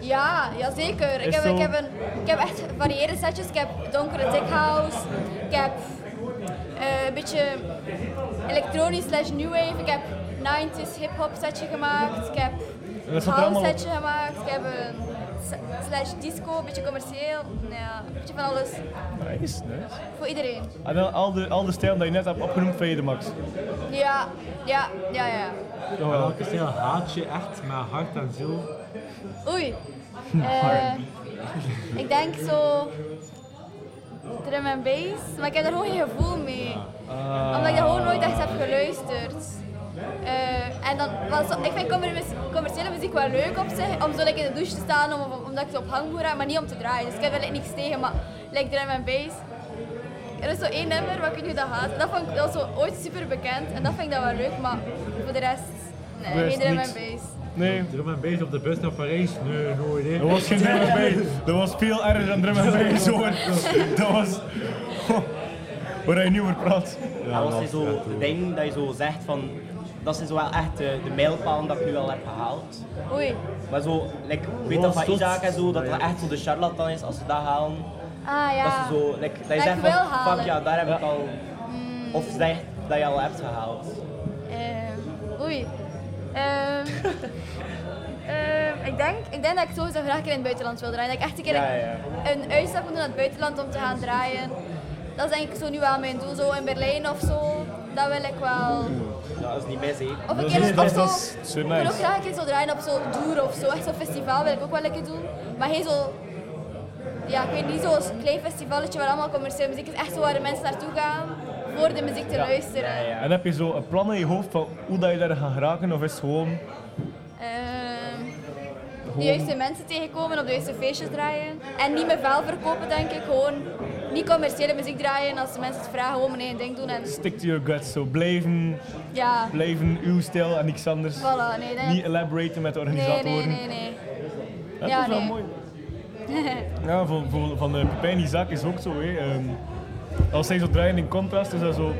Ja, ja zeker. Ik Is heb, zo. ik, heb een, ik heb echt variëre setjes. Ik heb donkere tech house. Ik heb eh, een beetje elektronisch slash new wave. Ik heb 90s hip hop setje gemaakt. Ik heb En dat een staat er house allemaal op? setje gemaakt. Ik heb een s- slash disco, een beetje commercieel. nou Ja, een beetje van alles. Nice, nice. Voor iedereen. En dan Ah, al de, al de stijlen die je net hebt opgenoemd van je de max. Ja, ja, ja, ja. Welke stijl haat je echt met hart en ziel? Oei. Eh, ik denk zo drum and bass, maar ik heb er gewoon geen gevoel mee. Omdat ik dat gewoon nooit echt heb geluisterd. Eh, en dan, wel zo- ik vind commer- mus- commerciële muziek wel leuk op zich, om zo like, in de douche te staan, om, om- omdat ik zo op hangboer heb, maar niet om te draaien. Dus ik heb er like, niks tegen, maar like drum and bass. Er is zo één nummer, wat ik weet niet hoe dat gaat. Dat, vond ik, dat was zo ooit super bekend en dat vind ik dat wel leuk, maar voor de rest, nee, Rest geen drum niks. and bass. Nee. Drum en bass op de bus naar Parijs? Nee, nooit. hè. Er was geen drum and bass. Dat was veel erger dan drum and bass hoor. Dat was... Waar hij nu over praat. Ja, dat was zo het ding dat je zo zegt van... Dat zijn zo wel echt de, de mijlpalen dat ik nu al heb gehaald. Oei. Maar zo, like, ik weet Oh, dat van zot. Isaac en zo, dat dat echt zo de charlatan is als ze dat halen. Ah ja. Dat dus ze zo, like, dat je Dat zegt ik van, wil fuck halen. ja, daar heb ik al... Of zeg dat je al hebt gehaald. Ehm, oei. Ehm, ehm, ik, denk, ik denk dat ik sowieso graag een keer in het buitenland wil draaien. Dat ik echt een keer Ja, een een uitstap moet doen naar het buitenland om te gaan draaien. Dat is denk ik zo nu wel mijn doel. Zo in Berlijn of zo. Dat wil ik wel. Ja, dat is niet mis, hè. Of een keer op zo. zo Ik wil ook graag een keer zo draaien op zo'n tour of zo. Echt zo'n festival wil ik ook wel een keer doen. Maar geen zo. Ja, ik weet niet, zo'n klein festivalletje waar allemaal commerciële muziek is. Echt zo waar de mensen naartoe gaan voor de muziek te luisteren. En heb je zo een plan in je hoofd van hoe dat je daar gaat geraken? Of is het gewoon... Ehm, de Gewoon- juiste mensen tegenkomen, op de juiste feestjes draaien. En niet mijn vuil verkopen, denk ik. Gewoon niet commerciële muziek draaien. Als de mensen het vragen, gewoon mijn eigen ding doen. En Stick to your guts. Zo blijven, ja, blijven uw stijl en niks anders. voilà. Nee, dat- Niet elaboraten met de nee, organisatoren. nee, nee, nee. Ja, dat is wel mooi. Ja, voor, voor, van eh, Pepijn Isaac is ook zo. Hè. Ehm, als zij zo draaien in contrast, is dat zo.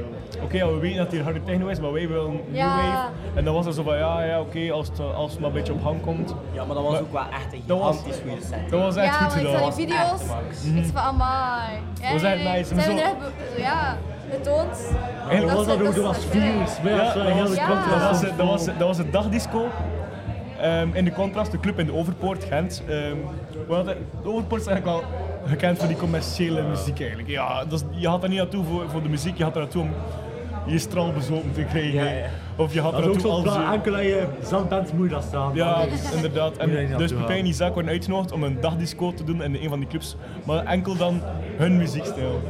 Oké, ja, we weten dat hier harde techno is, maar wij willen new Ja. wave. En dan was het zo van ja, ja oké, als, het, eh, als het maar een beetje op gang komt. Ja, maar dat was ook wel echt een dat was- gigantisch goede set. Dat was echt ja, goed want ik gedaan. zag die videe's. Ik zei van, amai. Ja, Dat was nee, echt nee. nice. Zijn we Zo- er echt be- ja, getoond. Eigenlijk Dat was ze- dat ook- ze- dat was ze- maar ja, Ja, het is wel dat heel was- de dat contrast. was het- dat was het- dat was het dagdisco. Ehm, in de contrast, de club in de Overpoort, Gent. Ehm, we hadden- de Overpoort is eigenlijk wel gekend voor die commerciële muziek eigenlijk. Ja, dat is- je had er niet naartoe voor, voor de muziek, je had er naartoe om je straal bezopen te krijgen. Of je had Dat er is ook naartoe zo'n als plan. je... Enkel dat je zand bent, moet je dat staan. Ja, Anders- inderdaad. Moet je daar En dus niet naartoe Pepijn en gaan. Isaac worden uitgenodigd om een dagdisco te doen in een van die clubs. Maar enkel dan hun muziekstijl.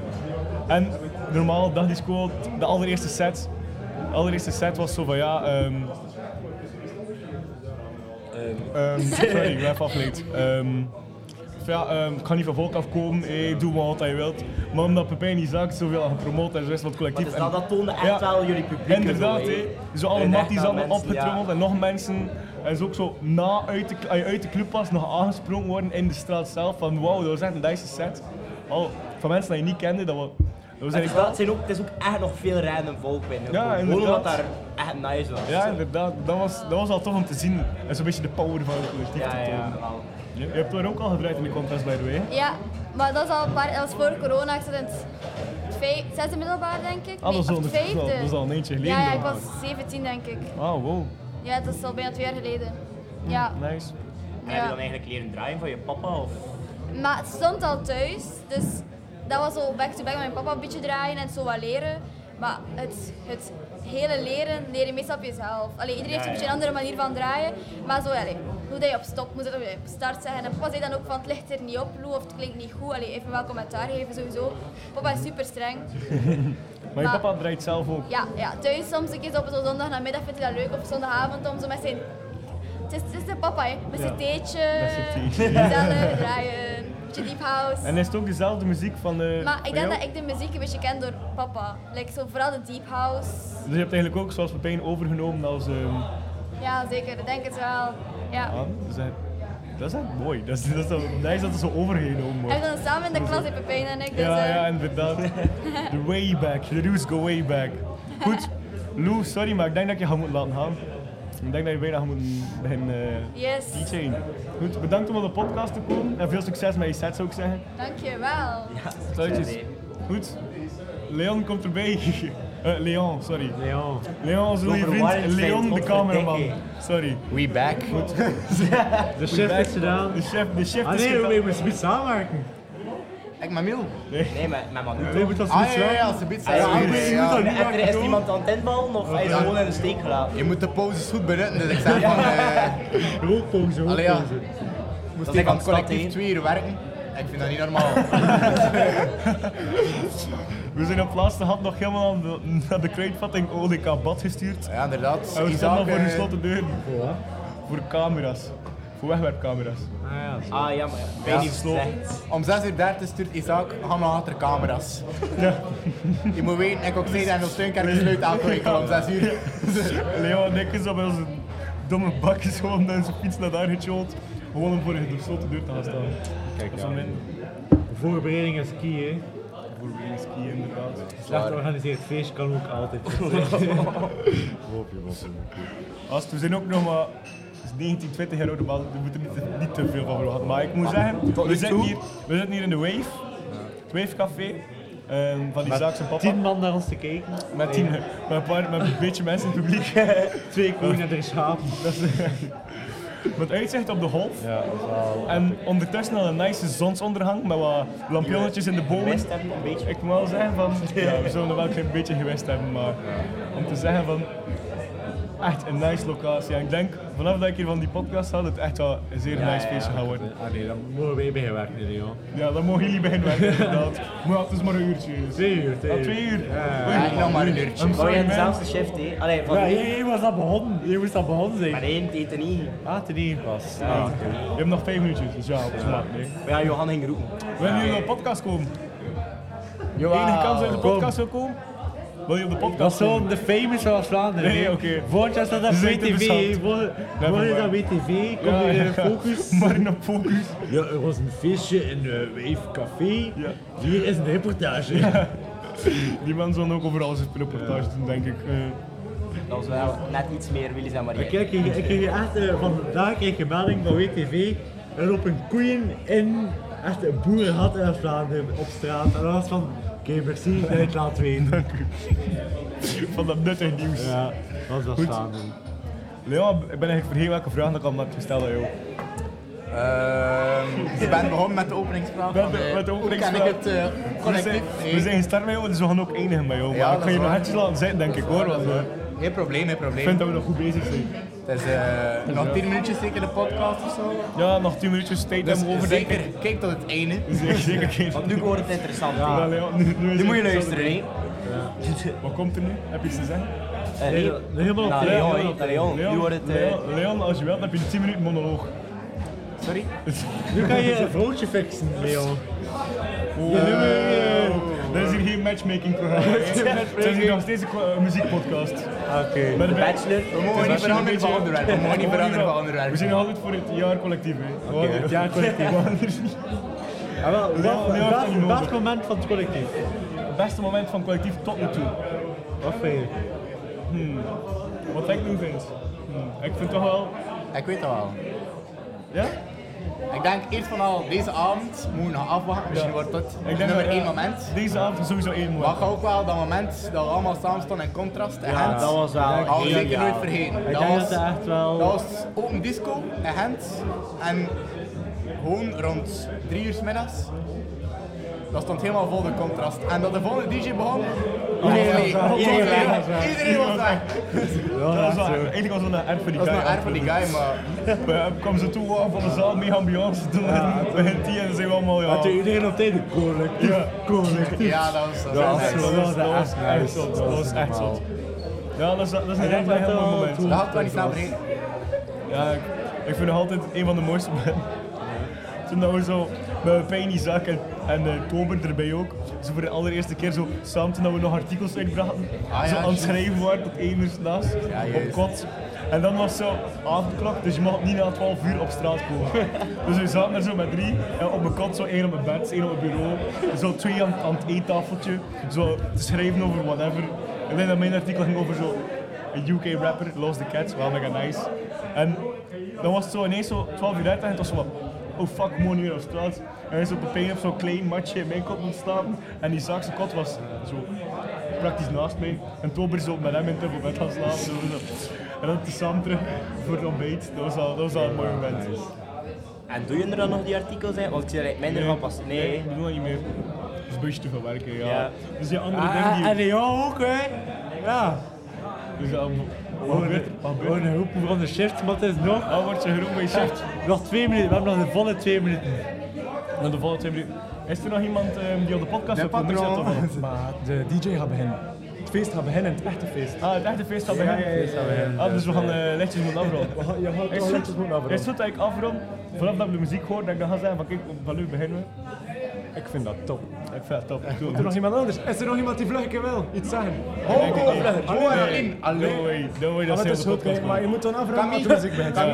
En normaal, dagdisco, de allereerste set. De allereerste set was zo van ja. ehm, ehm, sorry, ik ben even afgeleid. Ehm, van ja, ehm, ik kan niet van volk afkomen, hey, doe maar wat je wilt. Maar omdat Pepijn en Isaac zoveel aan gepromoot en zo is van het collectief. Maar het is en- dat- dat toonde echt wel jullie publiek en zo, Inderdaad, hey. hè. Zo En alle echt matties wel allemaal mensen, ja. opgetrommeld en nog mensen. En zo ook zo na uit de, als je uit de club was nog aangesprongen worden in de straat zelf. Van wauw, dat was echt een nice set. Al, van mensen die je niet kende, dat was, dat was Het is, wel, eigenlijk het, zijn ook, het is ook echt nog veel random volk binnen. Ja, Gewoon inderdaad. omdat daar echt nice was. Ja, inderdaad. Dat was, dat was al tof om te zien. En zo'n beetje de power van het collectief Ja, te ja, tonen. Je, je hebt er ook al gedraaid in de contest, by the way. Ja, maar dat is al een paar, dat was voor corona. Ik zat in het vijf- zesde middelbaar, denk ik. Ah, dat is Nee, of het al- dat is al- vijfde. dat is al een eentje geleden Ja, ja, dan. ik was 17, denk ik. Ah, wow. Ja, dat is al bijna twee jaar geleden. Ja. Nice. En heb je Ja. dan eigenlijk leren draaien van je papa? Of? Maar het stond al thuis, dus dat was zo back-to-back met mijn papa een beetje draaien en zo wat leren. Maar het, het hele leren leer je meestal op jezelf. Allee, iedereen Ja, heeft een beetje ja. een andere manier van draaien, maar zo, allee, hoe dat je op stop moet zetten, hoe dat je op start zeggen. En papa zei dan ook van het ligt er niet op, Lou, of het klinkt niet goed. Allee, even wel commentaar geven sowieso. Papa is super streng. Maar je papa draait zelf ook. Ja, ja, thuis soms een keer op zo'n zondag namiddag vindt hij dat leuk. Of zondagavond om zo met zijn... Het is, het is de papa, hè. Met zijn Ja. theetje. Met zijn theetje. Gezellig, draaien. een Beetje deep house. En is het ook dezelfde muziek van. eh, Maar ik van denk jou? dat ik de muziek een beetje ken door papa. Like, zo vooral de deep house. Dus je hebt eigenlijk ook zoals Pepijn overgenomen als. ehm, Ja, zeker. Ik denk het wel. Ja. aan. Dus dat, dat is echt mooi. Dat is, dat is, dan- nice dat het zo overgenomen wordt. En we zijn samen in de klas, hè, Pepijn en ik. Dus, Ja, eh, ja, inderdaad. The way back. The roots go way back. Goed. Lou, sorry, maar ik denk dat ik je gaat moeten laten gaan. Ik denk dat je bijna gaat moeten beginnen eh Yes. DJ'en. Goed, bedankt om op de podcast te komen. En veel succes met je set, zou ik zeggen. Dankjewel. Sluitjes. Goed. Leon komt erbij. Eh, Leon, sorry. Leon. Leon is een goede Over vriend. Wild Leon, State, de wat cameraman. verdenking. Sorry. We back. Goed. De We shift back. is gedaan. De chef, de chef Ah, is nee, gedaan. we moeten samenwerken. Ik met Miel. Nee, nee met, met Manu. Nee, moet dat Ah, niet ja, ja, ja, ze biedt samen. Ah, Ja, is- je moet dat niet En er is doen. iemand aan het inballen of hij is Ja. gewoon in de steek gelaten? Je moet de poses goed benutten, dus ik zeg van... eh Rookpose, Allee ja, moest Dat ik lijkt van aan stad, collectief hè. 2 hier werken. Ik vind dat niet normaal. We zijn op het laatste hand nog helemaal aan de, naar de kruidvatting ODK bad gestuurd. Ja, inderdaad. En we Isaac, staan nog voor eh, gesloten deuren. Voor Voor camera's. Voor wegwerpcamera's. Ah ja, Ah, jammer. Wij niet gezegd. Om 6 uur 30 stuurt Isaac, ga maar achter camera's. Je moet weten, ik ook zei dat in Steunkerk sluit aan om 6 uur. Leo en ik is op onze domme bakjes gewoon met zijn fiets naar daar gechilled. Gewoon om voor een gesloten deur te gaan staan. Kijk, ja. Voorbereiding en skiën. Voorbereiding skiën, inderdaad. Slecht georganiseerd feest kan ook altijd. Gast, we zijn ook nog maar het is 19, 20 jaar oude bal, we moeten niet, te- niet te veel van verwachten. Maar ik moet zeggen, Tot we nu zitten, toe. hier, we zitten hier in de Wave, het Wave Café. ehm, van die Met zaakse papa. tien man naar ons te kijken. Met tien, Nee. met een, paar, met een beetje mensen in het publiek. Twee koeien en drie schapen. Dat is, met uitzicht op de golf. En ondertussen al een nice zonsondergang met wat lampionnetjes in de bomen. Gewist hebben een beetje. Ik moet wel zeggen van, ja, we zullen er wel een klein beetje gewist hebben, maar om te zeggen van, echt een nice locatie. En ik denk, vanaf dat ik hier van die podcast had, het echt wel een zeer Ja, nice ja, feestje ja. gaat worden. Ah nee, dan mogen wij beginnen werken, hè, Leon. Ja, dan mogen jullie beginnen werken, inderdaad. Maar ja, het is maar een uurtje. Twee uur, twee Ah, uur. twee uur. Ja. Oei, Ja, ik nog maar een uurtje. I'm Oh, sorry, je hebt man. zelfs De shift, hé. Allee, van... Ja, je, was dat begonnen. Je moest dat begonnen zijn. Maar nee, het eten niet. Ah, ten één pas. Ja. Je hebt nog vijf minuutjes, dus ja, op is makkelijk. nee. Maar ja, Johan ging roepen. We hebben hier op de podcast komen. Enige kans dat je op de podcast wil komen? Wil je op de Dat is podcast zo'n komen? de famous van Vlaanderen. Nee, hè. oké. Volgend jaar staat dat Ze zijn te WTV. bezant. hè. Vol- Never Volgend jaar dat mind. WTV. Kom Ja, je ja, in ja. focus. Maar op focus. Ja, er was een feestje in de Wave Café. Hier is een reportage. Die man zal ook overal zijn reportage doen, denk ik. Eh, Dat was wel net iets meer Willys en Maria. Maar kijk, ik, ik kreeg echt, eh, van vandaag kreeg ik een melding van WTV. Er op een koeien in echt een boerenhat in Vlaanderen op straat. En dat was van, oké, merci, dat je het laat weten. Dank u. Van dat nuttig nieuws. Ja, dat was Goed. Vlaanderen. Leon, ik ben eigenlijk vergeten welke vraag ik al had gesteld aan jou. Ehm, ik ben begonnen met de openingsvraag. Met van, de, eh, met de hoe openingsvraag. ken ik het eh, we, zijn, collectief? we zijn gestart met jou, dus we gaan ook eindigen met jou. Maar Ja, ik dat ga is je nog waar. hartjes laten zitten, denk ik hoor. Want, eh, Geen probleem, geen probleem. ik vind dat we nog goed bezig zijn. Het is eh, Dus ja. nog 10 minuutjes zeker de podcast of zo. Ja, nog 10 minuutjes tijd Dus hebben we over. denk zeker, ik. kijk tot het einde. Zeker, zeker. geen- Want nu wordt het interessant. Ja, Leon, nu, nu is Nu moet je het- luisteren, hè. Wat komt er nu? Heb je iets te zeggen? Eh, nee, Nee, helemaal op naar Leon, Leon, hè, naar Leon. Nu wordt het, eh, Leon, Leon, als je wilt, heb je een 10 minuten monoloog. Sorry? Nu kan je een vrouwtje fixen, Leon. Oh. Dat is hier geen matchmaking programma. Het is hier nog steeds een kwa- een muziekpodcast. Oké. De Bachelor. We mogen niet veranderen van onderwerp, we mogen niet veranderen van onderwerp. We zijn nog altijd voor het jaar collectief. hè. Oké, het jaar collectief. Ja, Ah, wel, wat- Leon, Leon, wat- kom je wat over. moment van het collectief? Het beste moment van collectief tot nu toe. Wat vind je? Hmm. Wat ik nu vind. Hmm. Ik vind toch wel. Ik weet dat wel. Ja? Ik denk eerst van al, deze avond moeten we nog afwachten. Misschien wordt dat Ik denk nummer dat, ja, één moment. Deze avond sowieso één moment. Maar ik ga ook wel dat moment dat we allemaal samen stonden in contrast en Ja, Gent. dat was wel Gaan we geniaal. zeker nooit vergeten. Ik denk dat dat echt wel- Dat was open disco in Gent. En gewoon rond drie uur 's middags Dat stond helemaal vol de contrast. En dat de volgende DJ begon, Iedereen was daar. Iedereen was Iedereen was daar. daar. Iedereen was daar. dat was wel, eigenlijk was het een erf voor die Dat guy. was een erf voor die guy, maar... We kwamen ze toe wauw, van de zaal, mee ambiance. Toen begint die en ze zijn Oh allemaal, ja... Had je iedereen op tijd collectief, Ja. collectief. Ja, dat was- dat was echt zo. zot. Dat was Dat was echt nice. zot, dat was echt normaal. zot. Ja, dat is, dat is Ik een denk echt dat heel dat mooi moment. toen- Dat had wel iets laten reden. Ja, ik, ik vind het altijd een van de mooiste momenten. Toen dat we zo met Pijn Isaac en, en eh, Kober erbij ook, zo voor de allereerste keer zo samen toen dat we nog artikels uitbrachten, Ah, ja, zo aan het juist. schrijven waren tot één uur s'nachts, op juist. kot. En dan was zo avondklok, dus je mag niet na 12 uur op straat komen. dus we zaten er zo met drie, en op mijn kot, zo één op mijn bed, één op mijn bureau, zo twee aan, aan het eettafeltje, zo te schrijven over whatever. Ik denk dat mijn artikel ging over zo een UK rapper, Lost the Cats, wel mega nice. En dan was het zo ineens zo 12 uur uit en het was zo van, oh fuck, ik moet nu weer op straat. En hij is op een pijn op zo'n klein matje in mijn kot moet slapen. En die zaakse kot was zo praktisch naast mij. En Tober is ook met hem in het dubbel bed gaan slapen. Zo, zo. En dan samen terug voor het ontbijt. Dat was al, dat was al een mooi moment. En doe je er dan nog die artikels in? Want ik zie er eigenlijk minder van pas. Nee. Ik bedoel dat niet meer. Het is busje te veel werken, ja. Ja. Dus die andere Ah, dingen die... en jou ook, hè? Ja. Dus ja, Gewoon een roepen van de shift, maar het is nog... Ah, Al wordt je geroepen bij shift. Nog twee minuten, we hebben nog de volle twee minuten. Nog de volle twee minuten. Is er nog iemand ehm, die op de podcast De op wil patroon. Maar de DJ gaat beginnen. Het feest gaat beginnen, het echte feest. Ah, het echte feest gaat beginnen. Ja, ja, ja, ja, ja. Ah, dus we gaan eh, netjes moeten afronden. We gaan- je gaat Is toch goed? netjes moeten afronden. Is goed dat ik afrond? Vanaf dat we de muziek hoor, dat ik dan ga zeggen van kijk, van nu beginnen we. Ik vind dat top. Ik vind dat top. Ik Is er nog iemand anders? Is er nog iemand die vluggen wil? Iets zeggen? Ho, ho, Nee, nee, vlugger. nee. Ho, Nee. alleen. Nee. No way, no Ah, maar way, dat is heel het de is goed, podcast. hè, maar je moet dan afronden als Camille. de muziek begint. Ja,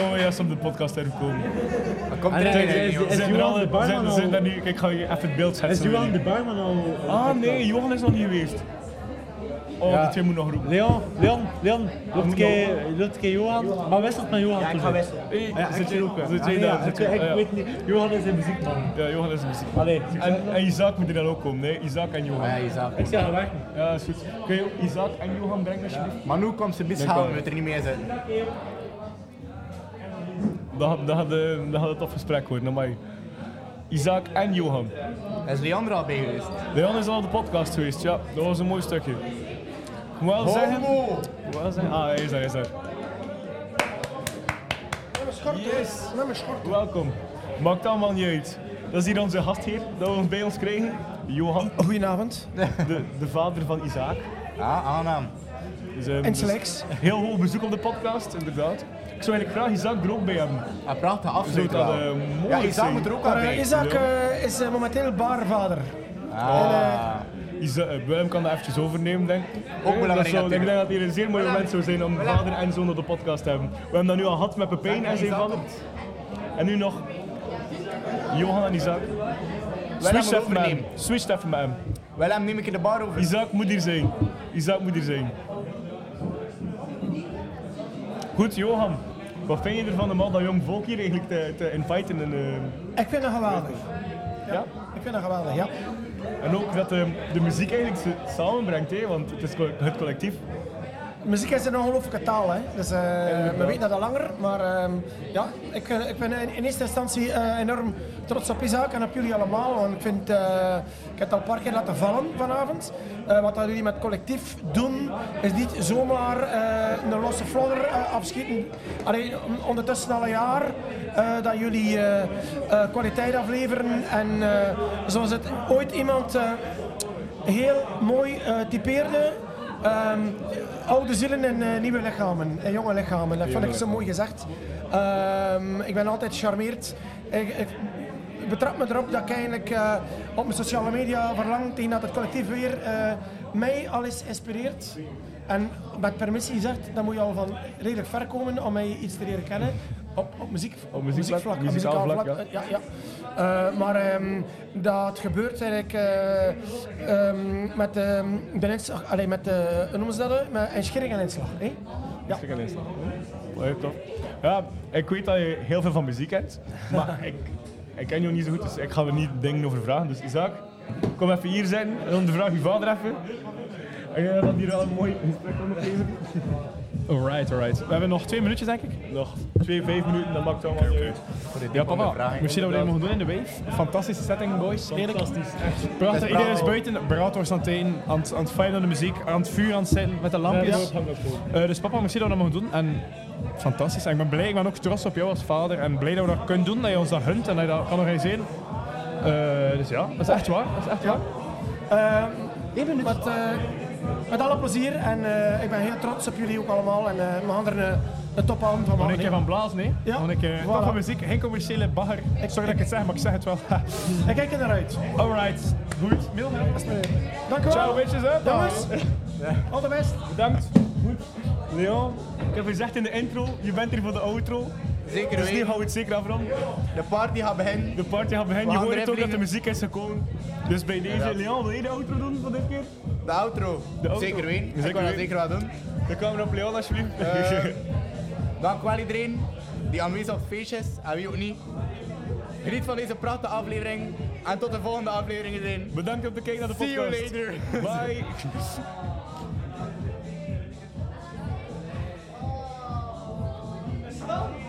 No way als ze op de podcast er komen. komt er Kijk, een, er is- is zijn er Johan al- de barman zijn- al- zijn daar nu- Kijk, ik ga je even het beeld zetten. Is Johan de barman al... Ah nee, Johan is nog niet geweest. Oh, Ja. die twee moet nog roepen. Leon, Leon, Leon, moet loopt keer Johan, maar wisselt met Johan. Ja, ik ga toch? wisselen. Eh, Ja, Zit ik- je ook? zit hè? jij Ah, daar? ja, Zit ik- jij- ja. Ik weet niet, Johan is een muziekman. Ja, Johan is een muziek. Allee. En, en Isaac moet er dan ook komen, nee? Isaac en Johan. Ja, Isaac. Ik zeg weg. Ja, is goed. Kun je ook Isaac en Johan brengen alsjeblieft? Maar nu komt ze bits Ja, halen, kom. we het er niet meer zijn. Dan, dan, dan, dan gaat het tof gesprek worden, amai. Isaac en Johan. Is Leandro al bij geweest? Leon is al op de podcast geweest, ja. Dat was een mooi stukje. Ik Moet wel zeggen... ik Moet wel zeggen... Ah, hij is daar, hij is daar. Yes. Welkom. Maakt allemaal niet uit. Dat is hier onze gastheer dat we bij ons krijgen. Johan. Goedenavond. De, de vader van Isaac. Ah, aangenaam. Dus, ehm, En dus Slex. heel hoog bezoek op de podcast, inderdaad. Ik zou eigenlijk graag Isaac er ook bij hebben. Hij praat de Zou afsluiter dat eh, wel. mooi Ja, Isaac zijn? moet er ook aan bij. Isaac eh, is eh, momenteel barvader. Ah. Isa- eh, Willem kan dat eventjes overnemen, denk ik. Ook belangrijk Dat zou- Ik natuurlijk. denk dat hier een zeer mooi moment zou zijn om Belangrijk. vader en zoon op de podcast te hebben. We hebben dat nu al gehad met Pepijn en zijn vader. En nu nog Johan en Isaac. hem Switch even met hem. overnemen. Switch even met hem. Wel, hem neem ik in de bar over. Isaac moet hier zijn. Isaac moet hier zijn. Goed, Johan. Wat vind je ervan om al dat jong volk hier eigenlijk te, te inviten? En, eh, Ik vind dat geweldig. ja? Ik vind dat geweldig, ja. en ook dat eh, de muziek eigenlijk ze- samenbrengt, hè? want het is co- het collectief. Muziek is een ongelooflijke taal, hè. Dus eh, we inderdaad. weten dat al langer, maar ehm, ja, ik, eh, ik ben in, in eerste instantie eh, enorm trots op Isaac en op jullie allemaal, want ik vind, eh, ik heb het al een paar keer laten vallen vanavond. Eh, wat dat jullie met collectief doen, is niet zomaar eh, een losse vlodder eh, afschieten. Allee, on- ondertussen al een jaar eh, dat jullie eh, eh, kwaliteit afleveren en eh, zoals het ooit iemand... eh, heel mooi eh, typeerde. ehm, oude zielen en eh, nieuwe lichamen, en jonge lichamen. Dat vond ik zo mooi gezegd. Ehm, ik ben altijd charmeerd. Ik, ik betrap me erop dat ik eigenlijk eh, op mijn sociale media verlang tegen dat het collectief weer eh, mij al eens inspireert. En met permissie gezegd, dan moet je al van redelijk ver komen om mij iets te leren kennen. Op, op muziek, Op muziekvlak, muziekvlak, op muzikaal muzikaal vlak, vlak, ja. eh, ja, ja. Eh, maar ehm, dat gebeurt eigenlijk eh, ehm, met, ehm, de inslag, allee, met de, hoe noemen ze dat? eh, Met een schering en inslag. Hè? Ja. Schrik en inslag. Leuk, tof. Ja, ik weet dat je heel veel van muziek kent, maar ik, ik ken jou niet zo goed, dus ik ga er niet dingen over vragen. Dus Isaac, kom even hier zijn en dan vraag je vader even. En jij gaat hier al een mooi gesprek ondergeven. Alright, alright. We hebben nog twee minuutjes, denk ik. Nog twee, vijf minuten, dan maakt het allemaal uit. Ja, papa, vragen, moest je dat we dit inderdaad. mogen doen in de wave? Fantastische setting, boys. Fantastisch, echt. Prachtig, iedereen is buiten. Brato is aan het eten, aan het, aan het fijn aan de muziek, aan het vuur aan het zitten, met de lampjes. Ja, dat hangt ook Eh, dus papa, moest je dat we dat mogen doen. En fantastisch. En ik ben blij, ik ben ook trots op jou als vader. En blij dat we dat kunnen doen, dat je ons dat hunt en dat je dat kan organiseren. Eh, dus ja, dat is echt waar. Dat is echt waar. Eh, Met, eh, met alle plezier en eh, ik ben heel trots op jullie ook allemaal. En eh, we gaan er een, een topavond van Nog maken. een keer van blazen, hè? Ja. Nog een keer Voilà. toffe muziek, geen commerciële bagger. Ik zorg dat ik het zeg, maar ik zeg het wel. ik kijk er naar uit. Alright, goed. Mil, Dank u wel. Ciao, bitches, hè? Jongens, al de best. Bedankt. Goed. Leon, ik heb gezegd in de intro, je bent hier voor de outro. Zeker Dus nu weten. hou het zeker af, Ron. De party gaat beginnen. De party gaat We beginnen. Je gaan hoort erin het ook dat de vliegen. muziek is gekomen. Dus bij deze, Inderdaad. Leon, wil je de outro doen voor dit keer? De outro. De outro. Zeker weten. Zeker ik wil dat weten. zeker wat doen. De camera op Leon, alsjeblieft. Eh, dank wel iedereen die aanwezig op het feestje is en wie ook niet. Geniet van deze prachtige aflevering en tot de volgende aflevering iedereen. Bedankt om te kijken naar de podcast. See you later. Bye. Bye.